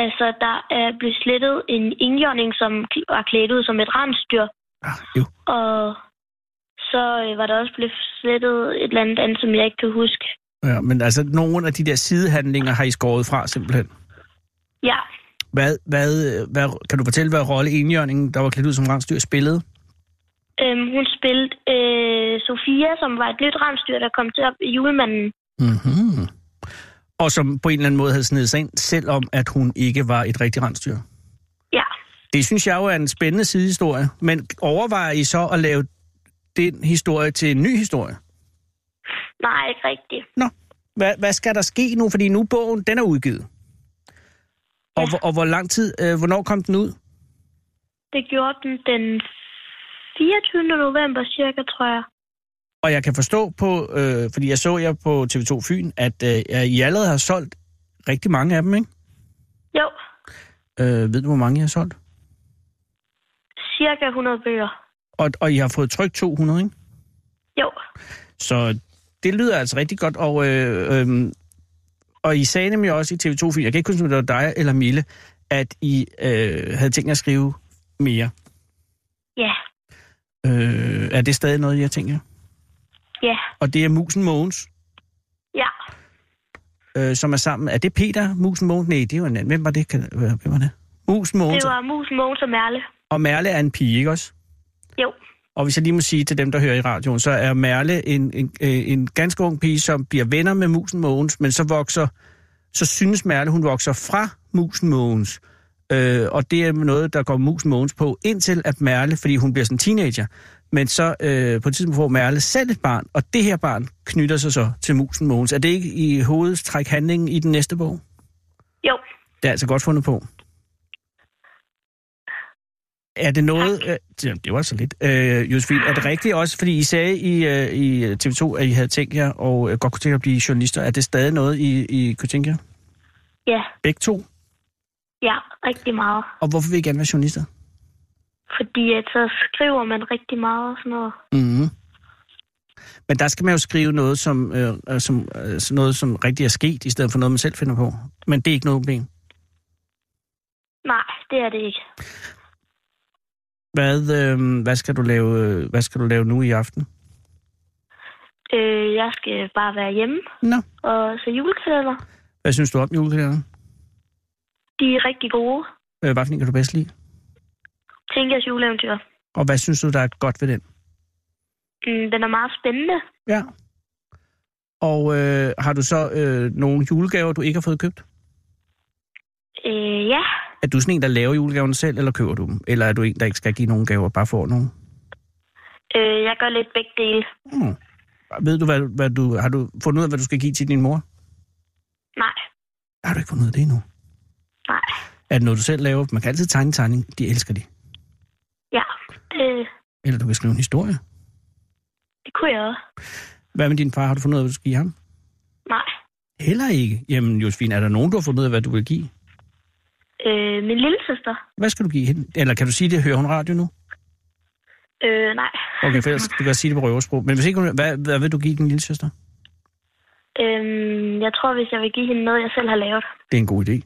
Altså, der er blevet slettet en indjørning, som kl- var klædt ud som et rensdyr,
Ah, jo.
og så øh, var der også blevet slettet et eller andet andet, som jeg ikke kan huske.
Ja, men altså, nogle af de der sidehandlinger har I skåret fra, simpelthen.
Ja,
Hvad, hvad, øh, hvad, kan du fortælle, hvad rolle enhjørningen, der var klædt ud som rensdyr, spillede?
øhm, hun spillede øh, Sofia, som var et nyt rensdyr, der kom til op i julemanden.
Mm-hmm. Og som på en eller anden måde havde snedet sig ind, selvom at hun ikke var et rigtigt rensdyr.
Ja,
Det synes jeg jo er en spændende sidehistorie, men overvejer I så at lave den historie til en ny historie?
nej, ikke rigtigt.
Nå, hvad, hvad skal der ske nu? Fordi nu bogen, den er udgivet. Og, ja. og hvor lang tid, øh, hvornår kom den ud?
Det gjorde den den 24. november cirka, tror jeg.
Og jeg kan forstå på, øh, fordi jeg så jer på TV2 Fyn, at øh, I allerede har solgt rigtig mange af dem, ikke?
Jo,
Øh, ved du, hvor mange I har solgt?
cirka 100 bøger.
Og, og I har fået trykt 200, ikke?
Jo,
Så det lyder altså rigtig godt, og, øh, øh, og I sagde nemlig også i TV2 Fyn, jeg kan ikke huske, om det var dig eller Mille, at I øh, havde tænkt jer at skrive mere.
ja,
Øh, er det stadig noget, I har tænkt jer?
ja,
Og det er Musen Mogens,
ja.
øh, som er sammen. Er det Peter Musen Mogens? Nej, det var en anden. Hvem var det? Kan- øh, Hvem var det? Musen
Det
Mogens var...
var Mus, Måns og Merle.
og Merle er en pige, ikke også?
Jo,
Og hvis jeg lige må sige til dem, der hører i radioen, så er Merle en, en, øh, en ganske ung pige, som bliver venner med Musen Mogens, men så vokser, så synes Merle, hun vokser fra Musen Mogens. Øh, og det er noget, der går Musen Mogens på, indtil at Merle, fordi hun bliver sådan en teenager, men så øh, på et tidspunkt får Merle selv et barn, og det her barn knytter sig så til Musen Mogens. Er det ikke i hovedstræk handlingen i den næste bog?
jo.
Det er altså godt fundet på. Er det noget... Øh, jamen, det var så lidt. Øh, Josefine, er det rigtigt også? Fordi I sagde i, øh, i TV2, at I havde tænkt jer, og øh, godt kunne tænke jer at blive journalister. Er det stadig noget, I, I kunne tænke jer?
Ja,
Begge to?
ja, rigtig meget.
Og hvorfor vil I gerne være journalister?
Fordi at så skriver man rigtig meget og sådan noget.
Mm-hmm. Men der skal man jo skrive noget, som, øh, øh, som, øh, sådan noget, som rigtig er sket, i stedet for noget, man selv finder på. Men det er ikke noget problem.
Nej, det er det ikke.
Hvad, øh, hvad, skal du lave, øh, hvad skal du lave nu i aften?
Øh, jeg skal bare være hjemme
Nå.
og se julekalender.
Hvad synes du om julekalenderen?
De er rigtig gode.
Øh, hvad for en kan du bedst lide?
Tænk jeres juleeventyr.
Og hvad synes du, der er godt ved den?
Mm, den er meget spændende.
Ja. Og øh, har du så øh, nogle julegaver, du ikke har fået købt?
Øh, ja,
Er du sådan en, der laver julegaverne selv, eller køber du dem? Eller er du en, der ikke skal give nogen gaver, bare får nogen?
øh, jeg gør lidt begge dele.
Hmm. Ved du, hvad, hvad du, har du fundet ud af, hvad du skal give til din mor?
Nej,
Har du ikke fundet ud af det endnu?
nej,
Er det noget, du selv laver? Man kan altid tegne en tegning. De elsker det.
ja, det,
Eller du kan skrive en historie.
det kunne jeg også.
Hvad med din far? Har du fundet ud af, hvad du skal give ham?
Nej,
Heller ikke. Jamen, Josefine, er der nogen, du har fundet ud af, hvad du vil give?
øh, min lille søster.
Hvad skal du give hende? Eller kan du sige det? Hører hun radio nu?
Øh, nej,
Okay, for ellers du kan sige det på røversprog. Men hvis ikke, hun- hvad, hvad vil du give din lille søster?
øh, jeg tror, hvis jeg vil give hende noget, jeg selv har lavet.
Det er en god idé.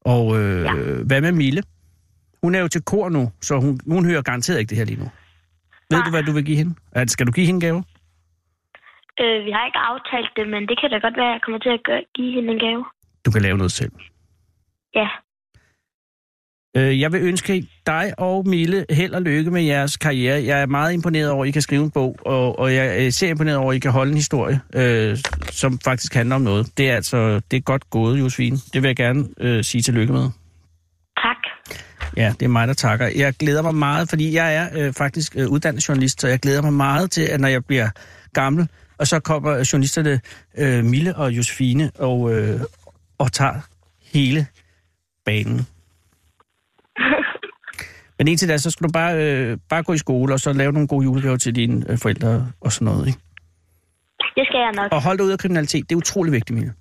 Og øh, ja.
Ja.
hvad med Mille? Hun er jo til kor nu, så hun, hun hører garanteret ikke det her lige nu. Ved
Nej.
du, hvad du vil give hende? Er, skal du give hende gaver?
Øh, vi har ikke aftalt det, men det kan da godt være, at jeg kommer til at gøre, give hende en gave.
Du kan lave noget selv.
Ja,
Øh, jeg vil ønske dig og Mille held og lykke med jeres karriere. Jeg er meget imponeret over, at I kan skrive en bog, og, og jeg er ser imponeret over, at I kan holde en historie, øh, som faktisk handler om noget. Det er altså det er godt gået, Josefine. Det vil jeg gerne øh, sige tillykke med.
tak.
Ja, det er mig, der takker. Jeg glæder mig meget, fordi jeg er øh, faktisk øh, uddannet journalist, så jeg glæder mig meget til, at når jeg bliver gammel, og så kommer journalisterne øh, Mille og Josefine og, øh, og tager hele banen. Men indtil da, så skal du bare, øh, bare gå i skole, og så lave nogle gode julegaver til dine øh, forældre og sådan noget. Ikke?
Det skal jeg nok.
Og hold dig ud af kriminalitet. Det er utrolig vigtigt, Mille.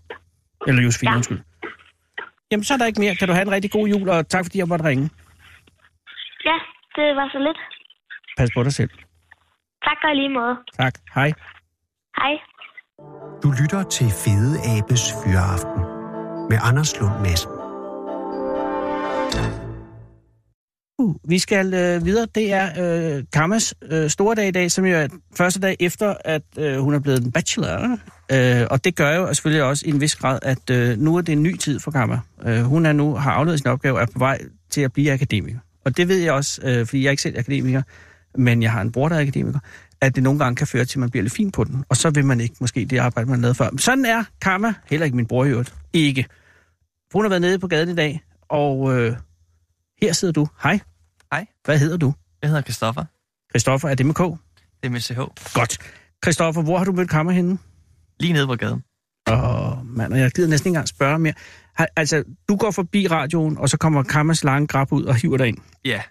Eller Josefine, ja.
Ja.
undskyld. Jamen, så er der ikke mere. Kan du have en rigtig god jul, og tak fordi jeg måtte ringe.
Ja, det var så lidt.
Pas på dig selv.
Tak og i lige måde.
Tak. Hej.
Hej.
Du lytter til Fede Abes Fyraften med Anders Lund Madsen.
Uh, vi skal øh, videre. Det er øh, Kammas øh, store dag i dag, som jo er den første dag efter, at øh, hun er blevet en bachelor. Øh, og det gør jo selvfølgelig også i en vis grad, at øh, nu er det en ny tid for Kamma. Øh, hun er nu har afleveret sin opgave og er på vej til at blive akademiker. Og det ved jeg også, øh, fordi jeg er ikke selv akademiker, men jeg har en bror, der er akademiker, at det nogle gange kan føre til, at man bliver lidt fin på den. Og så vil man ikke måske det arbejde, man lavede før. Men sådan er Kamma, heller ikke min bror i øvrigt, ikke. Hun har været nede på gaden i dag, og øh, her sidder du. Hej. Hvad hedder du?
Jeg hedder Christoffer.
Christoffer, er det med K?
Det er med CH.
Godt. Christoffer, hvor har du mødt kammer henne?
Lige nede på gaden.
Åh, mand, og jeg gider næsten ikke engang spørge mere. Har- Altså, du går forbi radioen, og så kommer Kammers lange grab ud og hiver dig ind.
Ja,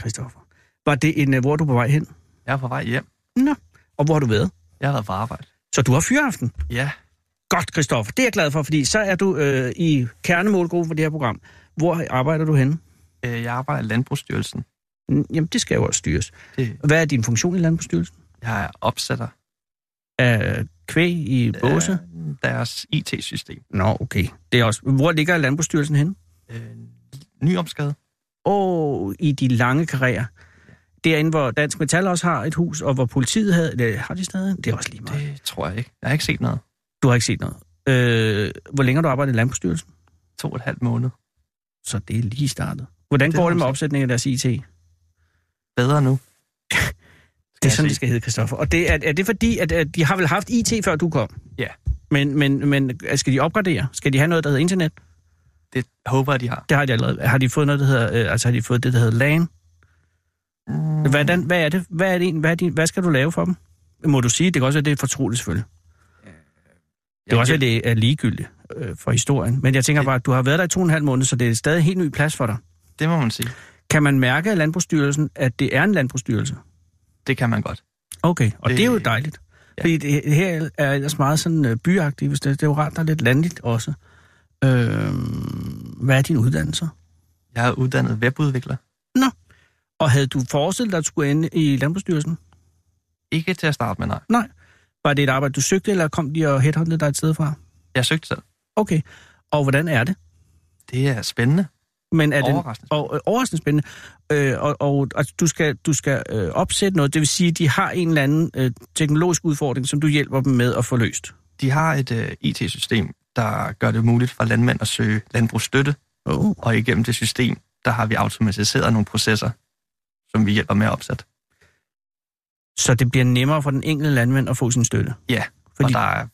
Christoffer. Var det en, øh, hvor er du på vej hen?
jeg er på vej hjem.
Nå. Og hvor har du været?
Jeg har været på arbejde.
Så du har fyraften.
Ja,
Godt, Christoffer. Det er jeg glad for, fordi så er du øh, i kernemålgruppen for det her program. Hvor arbejder du henne?
øh, jeg arbejder i Landbrugsstyrelsen.
Mm, Jamen, det skal jo også styres.
Det,
Hvad er din funktion i Landbrugsstyrelsen?
jeg er opsætter
Er kvæg
Øh.
i båse?
af deres IT-system.
Nå, okay. Det er også... Hvor ligger Landbrugsstyrelsen henne?
Øh, nyomskade.
og i de lange karrierer. Derinde, hvor Dansk Metal også har et hus, og hvor politiet havde... Det, har de stadig? Det er også lige meget.
Det tror jeg ikke. Jeg har ikke set noget.
Du har ikke set noget. Øh, hvor længe har du arbejdet i Landbrugsstyrelsen?
To og et halvt måned.
Så det er lige startet. Hvordan
Det
det går
må
det
man
med
sige.
opsætningen af deres IT? Det <laughs>
Bedre nu.
er sådan,
jeg sige.
det skal hedde, Christoffer. Og det, er, er det fordi, at, at de har vel haft IT, før du kom?
Ja.
Men, men, men skal de opgradere? Skal de have noget, der hedder internet?
Det håber jeg, de har.
Det har de allerede. Har de fået noget, der hedder... Øh, altså har de fået det, der hedder LAN?
Mm,
Hvordan, hvad er det? Hvad, er det, en- hvad, er din, hvad skal du lave for dem? Må du sige, det kan også være, det er fortroligt selvfølgelig. Det kan også være, det er ligegyldigt øh, for historien. Men jeg tænker
Det-
bare, at du har været der i to og en halv måned, så det er stadig en helt ny plads for dig.
det må man sige.
Kan man mærke af Landbrugsstyrelsen, at det er en landbrugsstyrelse?
Det kan man godt.
Okay, og det,
Det-
det er jo dejligt. Ja.
Ja.
Fordi det, her er ellers meget sådan øh, byagtigt, hvis det, det er jo rart, der er lidt landligt også. Øh, hvad er dine uddannelser?
Jeg er uddannet webudvikler.
Og havde du forestillet dig, at du skulle ende i Landbrugsstyrelsen?
Ikke til at starte med, nej.
Nej. Var det et arbejde, du søgte, eller kom de og headhuntede dig et sted fra?
Jeg søgte selv.
Okay. Og hvordan er det?
Det er spændende.
Men er det
Overraskende.
Og, øh, overraskende spændende. Øh, og og altså, du skal, du skal øh, opsætte noget. Det vil sige, at de har en eller anden øh, teknologisk udfordring, som du hjælper dem med at få løst.
De har et uh, IT-system, der gør det muligt for landmænd at søge landbrugsstøtte,
Oh.
og igennem det system, der har vi automatiseret nogle processer, som vi hjælper med at opsætte.
Så det bliver nemmere for den enkelte landmand at få sin støtte.
Ja, Fordi... Og
Fordi,
der er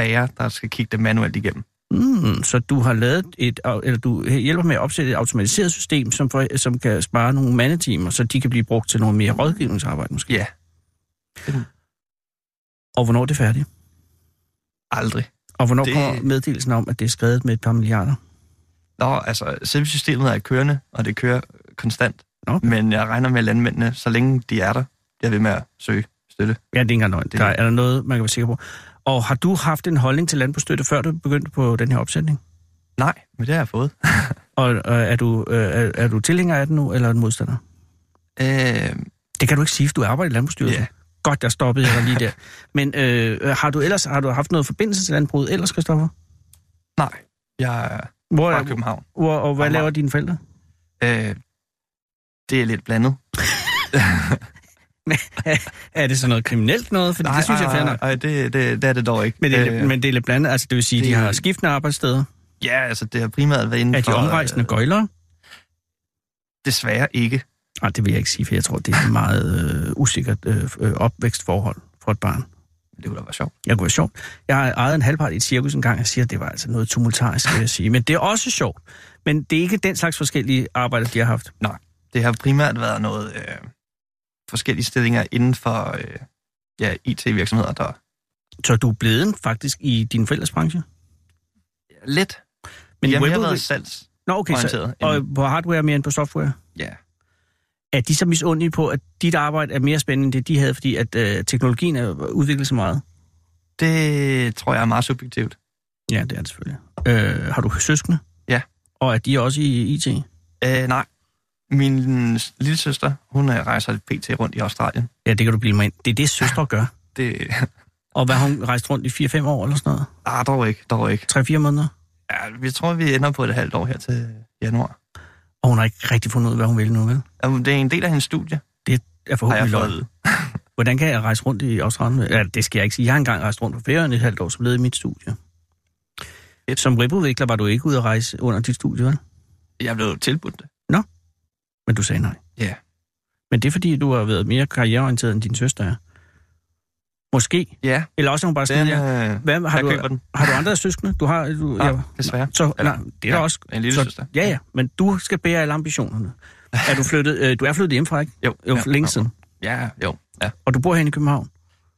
færre, der skal kigge det manuelt igennem.
mm, så du har lavet et, au- eller du hjælper med at opsætte et automatiseret system, som, for, som kan spare nogle mandetimer, så de kan blive brugt til noget mere rådgivningsarbejde måske.
Ja,
Og hvornår er det færdigt?
aldrig.
Og hvornår det...
Det-
kommer meddelelsen om, at det er skrevet med et par milliarder?
Nå, altså, selve systemet er kørende, og det kører konstant.
Nå.
Men jeg regner med, at landmændene, så længe de er der, bliver ved med at søge støtte.
Ja, det er ikke engang løgn.
Det-
Der er, er der noget, man kan være sikker på. Og har du haft en holdning til landbrugsstøtte, før du begyndte på den her opsætning?
Nej, men det har jeg fået. <laughs>
Og øh, er, du, øh, er, er du tilhænger af den nu, eller er du modstander?
Øh,
Det kan du ikke sige, for du arbejder i Landbrugsstyrelsen.
Ja.
Godt, der stoppede jeg dig lige der. Men øh, har du ellers har du haft noget forbindelse til landbruget ellers, Christoffer?
nej, jeg er
Hvor,
fra København.
hvor, og hvad
Amager.
laver dine forældre?
Øh, det er lidt blandet.
Er det sådan noget kriminelt noget? Fordi nej, det synes jeg er fair nok.
Nej, det, det, det er det dog ikke.
Men det, er, øh, men det er Mm. lidt blandet. Altså, det vil sige, det, de
det-
har skiftende arbejdssteder.
Ja, altså, det har primært været inden
Er de
for,
omrejsende
øh,
gøjlere?
Desværre ikke.
Nej, Ah, det vil jeg ikke sige, for jeg tror, det er et meget øh, usikkert øh, øh, opvækstforhold for et barn.
Det kunne da være sjovt.
Jeg kunne være sjovt. Jeg har ejet en halvpart i et cirkus en gang, jeg siger, at det var altså noget tumultarisk, vil jeg sige. Men det er også sjovt. Men det er ikke den slags forskellige arbejder, de har haft.
Det har primært været noget øh, forskellige stillinger inden for øh, ja, IT-virksomheder, der
Så du er blevet faktisk i din forældres branche?
lidt.
Men
Men Jamen, jeg har
Webber-
været salgs.
Nå, okay, så,
orienteret
og
end-
på hardware mere end på software?
Ja.
Er de så misundelige på, at dit arbejde er mere spændende end det, de havde, fordi at øh, teknologien er udviklet så meget?
Det tror jeg er meget subjektivt.
Ja, det er det selvfølgelig. Øh, har du søskende?
Ja.
Og er de også i IT?
Øh, nej. Min lille søster, hun øh, rejser lidt pt. rundt i Australien.
Ja, det kan du blive mig ind. Det er det, søstre gør.
Det <laughs>
Og hvad har hun rejst rundt i 4-5 år eller sådan noget?
ah, dog ikke, dog ikke.
3-4 måneder?
Ja, vi tror, vi ender på et halvt år her til januar.
Og hun har ikke rigtig fundet ud af, hvad hun vil nu, vel?
Jamen, det er en del af hendes studie,
Jeg
har jeg
forhåbentlig løgn.
fået.
Hvordan kan jeg rejse rundt i Australien? Ja, det skal jeg ikke sige. Jeg har engang rejst rundt på ferien et halvt år, som led i mit studie. Som ribudvikler var du ikke ude at rejse under dit studie, vel?
Jeg blev tilbudt det.
Men du sagde nej.
Ja.
Men det er fordi, du har været mere karriereorienteret, end din søster er. Måske.
Ja,
Eller også er hun bare sådan,
den,
ja.
øh,
Hvad, har,
jeg
du,
køber den.
har du andre søskende? Du har, du,
Nej, desværre.
Så,
Eller-
nej, det er ja,
ja,
også...
en lille
så,
søster.
Ja, ja, men du skal bære alle
<laughs>
ambitionerne. Er du flyttet... Øh, du er flyttet hjemmefra, ikke?
Jo,
Jo,
ja,
for længe
jo.
siden.
Ja, jo. Ja.
Og du bor herinde i København.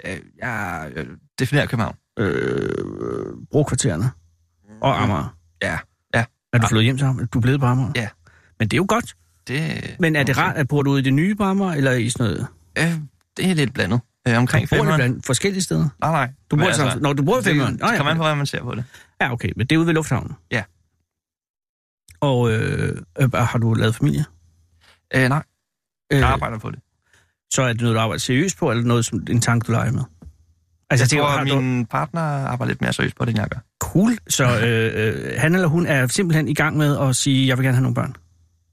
Øh, jeg øh, definerer København.
Øh, brokvartererne. Og Amager.
Ja, ja.
Er du flyttet hjem til Amager? Du er blevet på Amager?
Ja.
Ah. Men det er jo godt.
Det,
Men er det rart, at bor du ude i det nye på Amager, eller i sådan noget?
Øh, det er lidt blandet. Øh, omkring
Bor du
femmeren.
blandt forskellige steder?
Nej, nej.
Du bor
Men
i Samsø. Nå, du bor i
det-
Femern. Nå,
Det
ja.
kommer an på, hvordan man ser på det.
Ja, okay, men det er ude ved lufthavnen.
Ja.
Og øh, øh, har du lavet familie?
Øh, nej,
Øh, altså,
jeg arbejder på det.
Så er det noget, du arbejder seriøst på, eller noget, som en tanke, du leger med?
Altså, jeg
tænker,
tror,
har
at
du-
min partner arbejder lidt mere seriøst på det, end jeg gør.
Cool. Så øh, øh, han eller hun er simpelthen i gang med at sige, jeg vil gerne have nogle børn.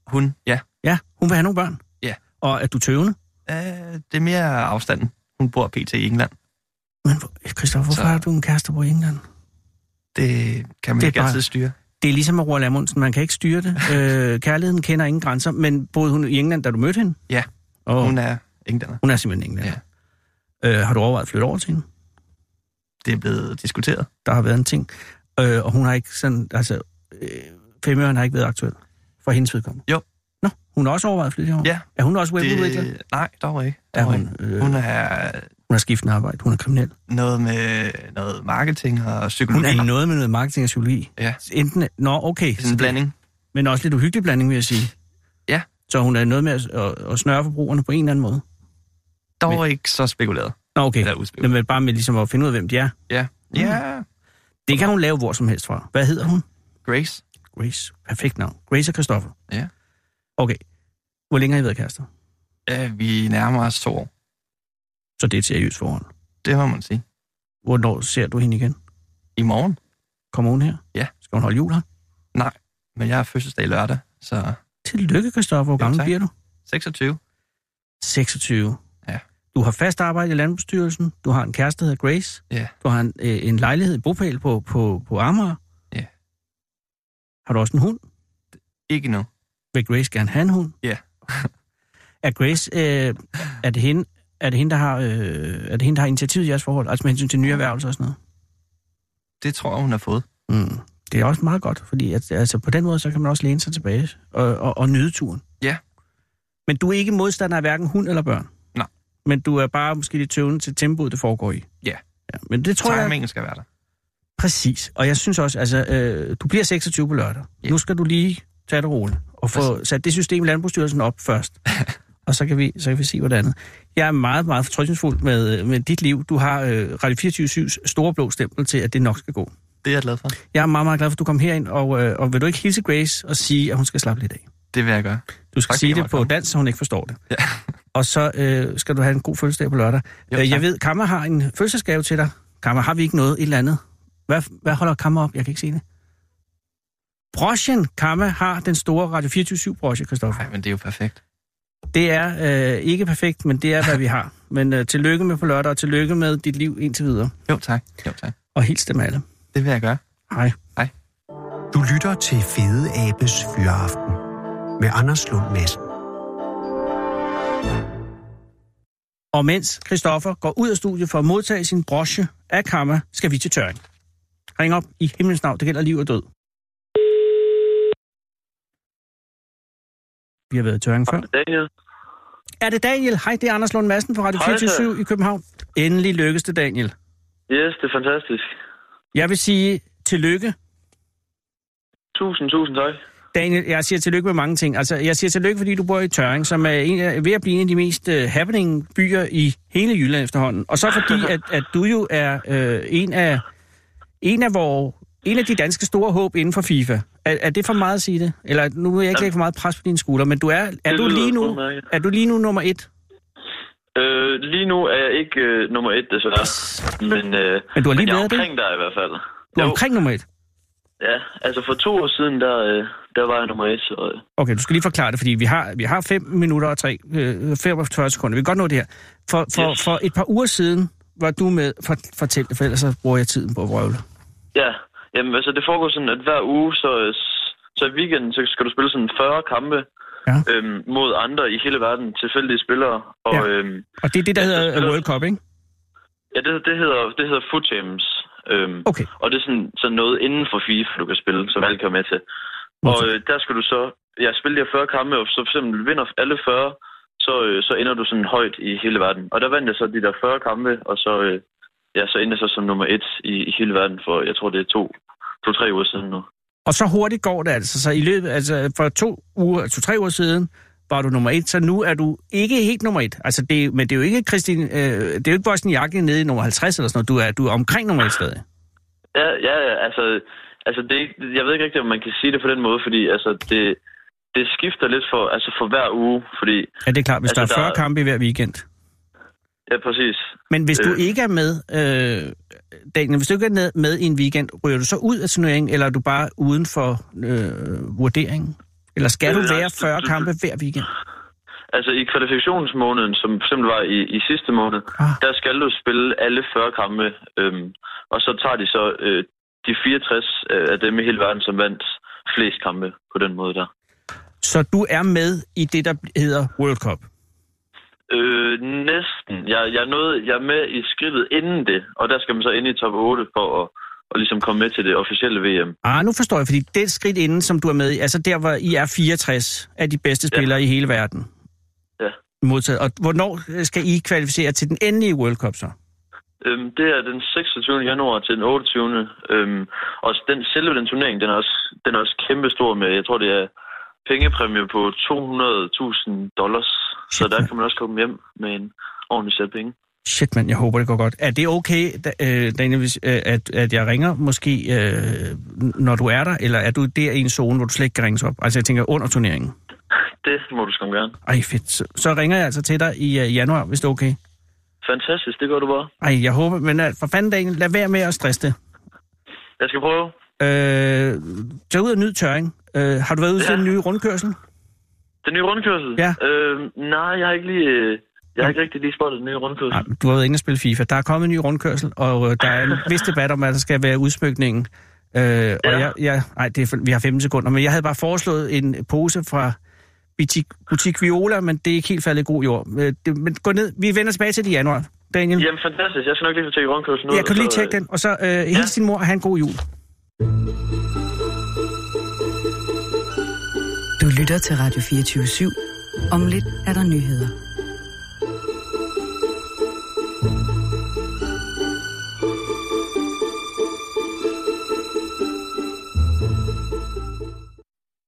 Hun, ja.
Ja, hun vil have nogle børn.
Ja.
Og er du tøvende?
Øh, det er mere afstanden. Hun bor pt. i England.
Men hvor- Christoffer, hvorfor
Så-
har du en kæreste, der bor i England?
Det kan man
Det er
det ikke
bare-
altid styre.
Det er ligesom med Roald Amundsen, man kan ikke <laughs> styre det. Øh, kærligheden kender ingen grænser, men boede hun i England, da du mødte hende?
Ja.
Og hun,
Hun
er...
er englænder.
hun er simpelthen englænder. Ja. Øh, har du overvejet at flytte over til hende?
Det er blevet diskuteret.
Der har været en ting. Øh, og hun har ikke sådan, altså, øh, femøren har ikke været aktuel for hendes vedkommende.
Jo.
Nå, hun har også overvejet at flytte herover.
Ja.
Er hun også webudvikler? Det...
Det, nej, dog ikke.
Er
Dog
hun,
ikke.
øh,
hun er
Hun har skiftende arbejde, hun er kriminel.
noget med noget marketing og
Hun
psykologi.
er noget med noget marketing og psykologi.
Ja.
Enten, nå, okay.
Sådan
så-
en blanding.
Men også lidt uhyggelig blanding, vil jeg sige.
Ja.
Så hun er noget med at, at, at snøre forbrugerne på en eller anden måde.
Dog ikke så spekuleret.
Nå, okay.
Eller
Nå,
udspekuleret.
men bare med ligesom at finde ud af, hvem de er.
Ja. Ja,
Det kan hun lave hvor som helst fra. Hvad hedder hun?
Grace.
Grace. Perfekt navn. Grace og Christoffer.
Ja.
Okay. Hvor længe har I været kærester?
Ja, vi nærmer os to år.
Så det er et seriøst forhold.
Det må man sige.
Hvornår ser du hende igen?
I morgen.
Kommer hun her?
Ja.
Skal hun holde jul her?
Men jeg har fødselsdag lørdag, så
Tillykke, Christoffer. Hvor
Jo,
gammel
tak.
bliver du?
26.
26.
Ja.
Du har fast arbejde i Landbrugsstyrelsen. Du har en kæreste, der hedder Grace.
Ja.
Du har en, øh, en lejlighed i bopæl på, på, på Amager.
Ja.
Har du også en hund?
Ikke nu.
Vil Grace gerne have en hund?
Ja.
Er Grace, øh, er, det hende, er, det hende, der har, øh, er det hende, der har initiativet i jeres forhold? Altså med hensyn til nye erhvervelser og sådan noget?
Det tror jeg, hun har fået.
Mm. Det er også meget godt, fordi at, altså, på den måde, så kan man også læne sig tilbage og, og, og nyde turen.
Ja.
Men du er ikke modstander af hverken hund eller børn?
Nej.
Men du er bare måske lidt tøvende til tempoet, det foregår i?
Ja.
ja men det tror jeg...
Timingen skal være der.
Præcis. Og jeg synes også, altså, øh, du bliver 26 på lørdag.
Ja.
Nu skal du lige tage det roligt og få sat det system i Landbrugsstyrelsen op
<laughs>
først. og så kan, vi, så kan vi se, hvordan. Jeg er meget, meget fortrykningsfuld med, med dit liv. Du har øh, Radio 24-7's store blå stempel til, at det nok skal gå.
Det er jeg glad for.
Jeg er meget, meget glad for, at du kom herind, og, øh, og vil du ikke hilse Grace og sige, at hun skal slappe lidt af?
Det vil jeg gøre.
Du skal
Tak,
tak, sige
fordi jeg
det på
måtte komme.
dansk, så hun ikke forstår det.
Ja.
<laughs> Og så øh, skal du have en god fødselsdag på lørdag.
Jo,
øh, jeg
tak.
ved, Kammer har en fødselsdagsgave til dig. Kammer, har vi ikke noget? Et eller andet? Hvad, hvad holder Kammer op? Jeg kan ikke se det. Brochen Kammer har den store Radio 24-7 broche, Christoffer.
Nej, men det er jo perfekt.
Det er øh, ikke perfekt, men det er, hvad vi
<laughs>
har. Men øh, tillykke med på lørdag, og tillykke med dit liv indtil videre.
Jo tak. Jo tak.
Og hils dem alle.
Det vil jeg gøre.
Hej.
Du lytter til Fede Abes Fyraften med Anders Lund Madsen.
Og mens Christoffer går ud af studiet for at modtage sin broche af Kammer, skal vi til tørring. Ring op i himlens navn, det gælder liv og død. Vi har været i tørring før.
Daniel.
Er det Daniel? Hej, det er Anders Lund Madsen fra Radio
Hej, Søren.
24 i København. Endelig lykkes det, Daniel.
Yes, det er fantastisk.
Jeg vil sige tillykke.
Tusind, tusind tak.
Daniel, jeg siger tillykke med mange ting. Altså, jeg siger tillykke, fordi du bor i Tøring, som er en af, ved at blive en af de mest uh, happening byer i hele Jylland efterhånden. Og så fordi, at, at du jo er øh, en af en af vores en af de danske store håb inden for FIFA. Er, er det for meget at sige det? Eller nu vil jeg ikke lægge for meget pres på dine skuldre, men du er, er
Det
du
lyder
lige nu,
udmærket.
er du lige nu nummer et?
Øh, lige nu er jeg ikke øh, nummer et, desværre. Men, øh,
Men du har
men
lige
jeg er
været det?
omkring dig i hvert fald.
Du er
Jo,
omkring nummer et.
Ja, altså for to år siden, der, øh, der var jeg nummer et, så... Øh.
Okay, du skal lige forklare det, fordi vi har, vi har 5 minutter og 3, øh, 45 sekunder. Vi kan godt nå det her. For, for,
Yes.
for et par uger siden var du med. For, fortæl det, for ellers så bruger jeg tiden på at vrøvle.
Ja, jamen altså det foregår sådan, at hver uge, så, øh, s- så i weekenden, så skal du spille sådan 40 kampe
Ja.
øhm, mod andre i hele verden, tilfældige spillere. Og
Ja.
ja, øhm,
Og det er det, der
Ja,
hedder
det
øh,
spiller-
World Cup, ikke?
ja det, det hedder, det hedder foot teams. Øhm,
Okay.
Og det er sådan, sådan noget inden for FIFA, du kan spille, som alle kan være med til. Og
Hvorfor?
øh, der skal du så, ja, spille de her 40 kampe, og så for eksempel vinder alle 40, så, øh, så ender du sådan højt i hele verden. Og der vandt jeg så de der 40 kampe, og så, øh, ja, så endte jeg så som nummer et i, i hele verden for, jeg tror det er to, to-tre uger siden nu.
Og så hurtigt går det altså. Så i løbet, altså for to uger, to tre uger siden, var du nummer et, så nu er du ikke helt nummer et. Altså det, men det er jo ikke Christine, øh, det er jo ikke Bosnien Jakke nede i nummer 50 eller sådan noget. Du er, du er omkring nummer et stadig.
Ja, ja, ja, altså, altså det, er ikke- jeg ved ikke rigtigt, om man kan sige det på den måde, fordi altså, det, det skifter lidt for, altså for hver uge, fordi,
Ja, det er klart, hvis
Altså,
altså, der er
der
40
er-
kampe i hver weekend.
ja, præcis.
Men hvis øh. du
Øh.
ikke er med, øh, Daniel, hvis du ikke er med, med i en weekend, ryger du så ud af turneringen, eller er du bare uden for øh, vurderingen? Eller skal
Øh,
du
nej,
være
du-
40
du-
kampe hver weekend?
Altså i kvalifikationsmåneden, som for eksempel var i, i sidste måned,
Ah.
ah. der skal du spille alle 40 kampe, øhm, og så tager de så øh, de 64 øh, af dem i hele verden, som vandt flest kampe på den måde der.
Så du er med i det, der hedder World Cup.
Øh, næsten. Jeg, jeg, nåede, jeg er med i skridtet inden det, og der skal man så ind i top 8 for at, at ligesom komme med til det officielle VM.
Ah, nu forstår jeg, fordi det skridt inden, som du er med i, altså der, hvor I er 64 af de bedste
Ja.
spillere i hele verden.
Ja.
Modtaget. Og hvornår skal I kvalificere til den endelige World Cup så?
Øhm, det er den 26. januar til den 28. Øhm, og den, selve den turnering, den er også, den er også kæmpestor med, jeg tror det er pengepræmie på 200.000 dollars. Så der kan man også komme hjem med en ordentlig sæt penge.
Shit, mand, jeg håber, det går godt. Er det okay, da- øh, Daniel, hvis, øh, at, at jeg ringer måske, øh, n- når du er der? Eller er du der i en zone, hvor du slet ikke kan ringes op? Altså, jeg tænker under turneringen.
Det må du skam gerne.
Ej, fedt. Så, så ringer jeg altså til dig i øh, januar, hvis det er okay.
Fantastisk, det gør du bare.
Ej, jeg håber, men øh, for fanden, Daniel, lad være med at stresse det.
Jeg skal prøve.
Øh, tag ud og nyd tørring. Øh, har du været ude ja. til
Ja.
den nye rundkørsel?
Den nye rundkørsel?
Ja.
Øhm, nej, jeg har ikke lige... øh, Jeg har ikke rigtig lige spottet den nye rundkørsel.
Nej, du har været inde og spille FIFA. Der er kommet en ny rundkørsel, og øh, der er en vis debat om, at der skal være udsmykningen. Øh, og
Ja.
jeg, jeg, ej, det er, for- vi har 15 sekunder, men jeg havde bare foreslået en pose fra butik, butik Viola, men det er ikke helt faldet i god jord. Øh, det, men gå ned. Vi vender tilbage til det i januar. Daniel,
Jamen, fantastisk. Jeg skal nok lige få tjekket rundkørslen ud.
jeg kan du lige
så,
tjekke den, og så øh, hils din mor og have en god jul.
Du lytter til Radio 24 /7. Om lidt er der nyheder.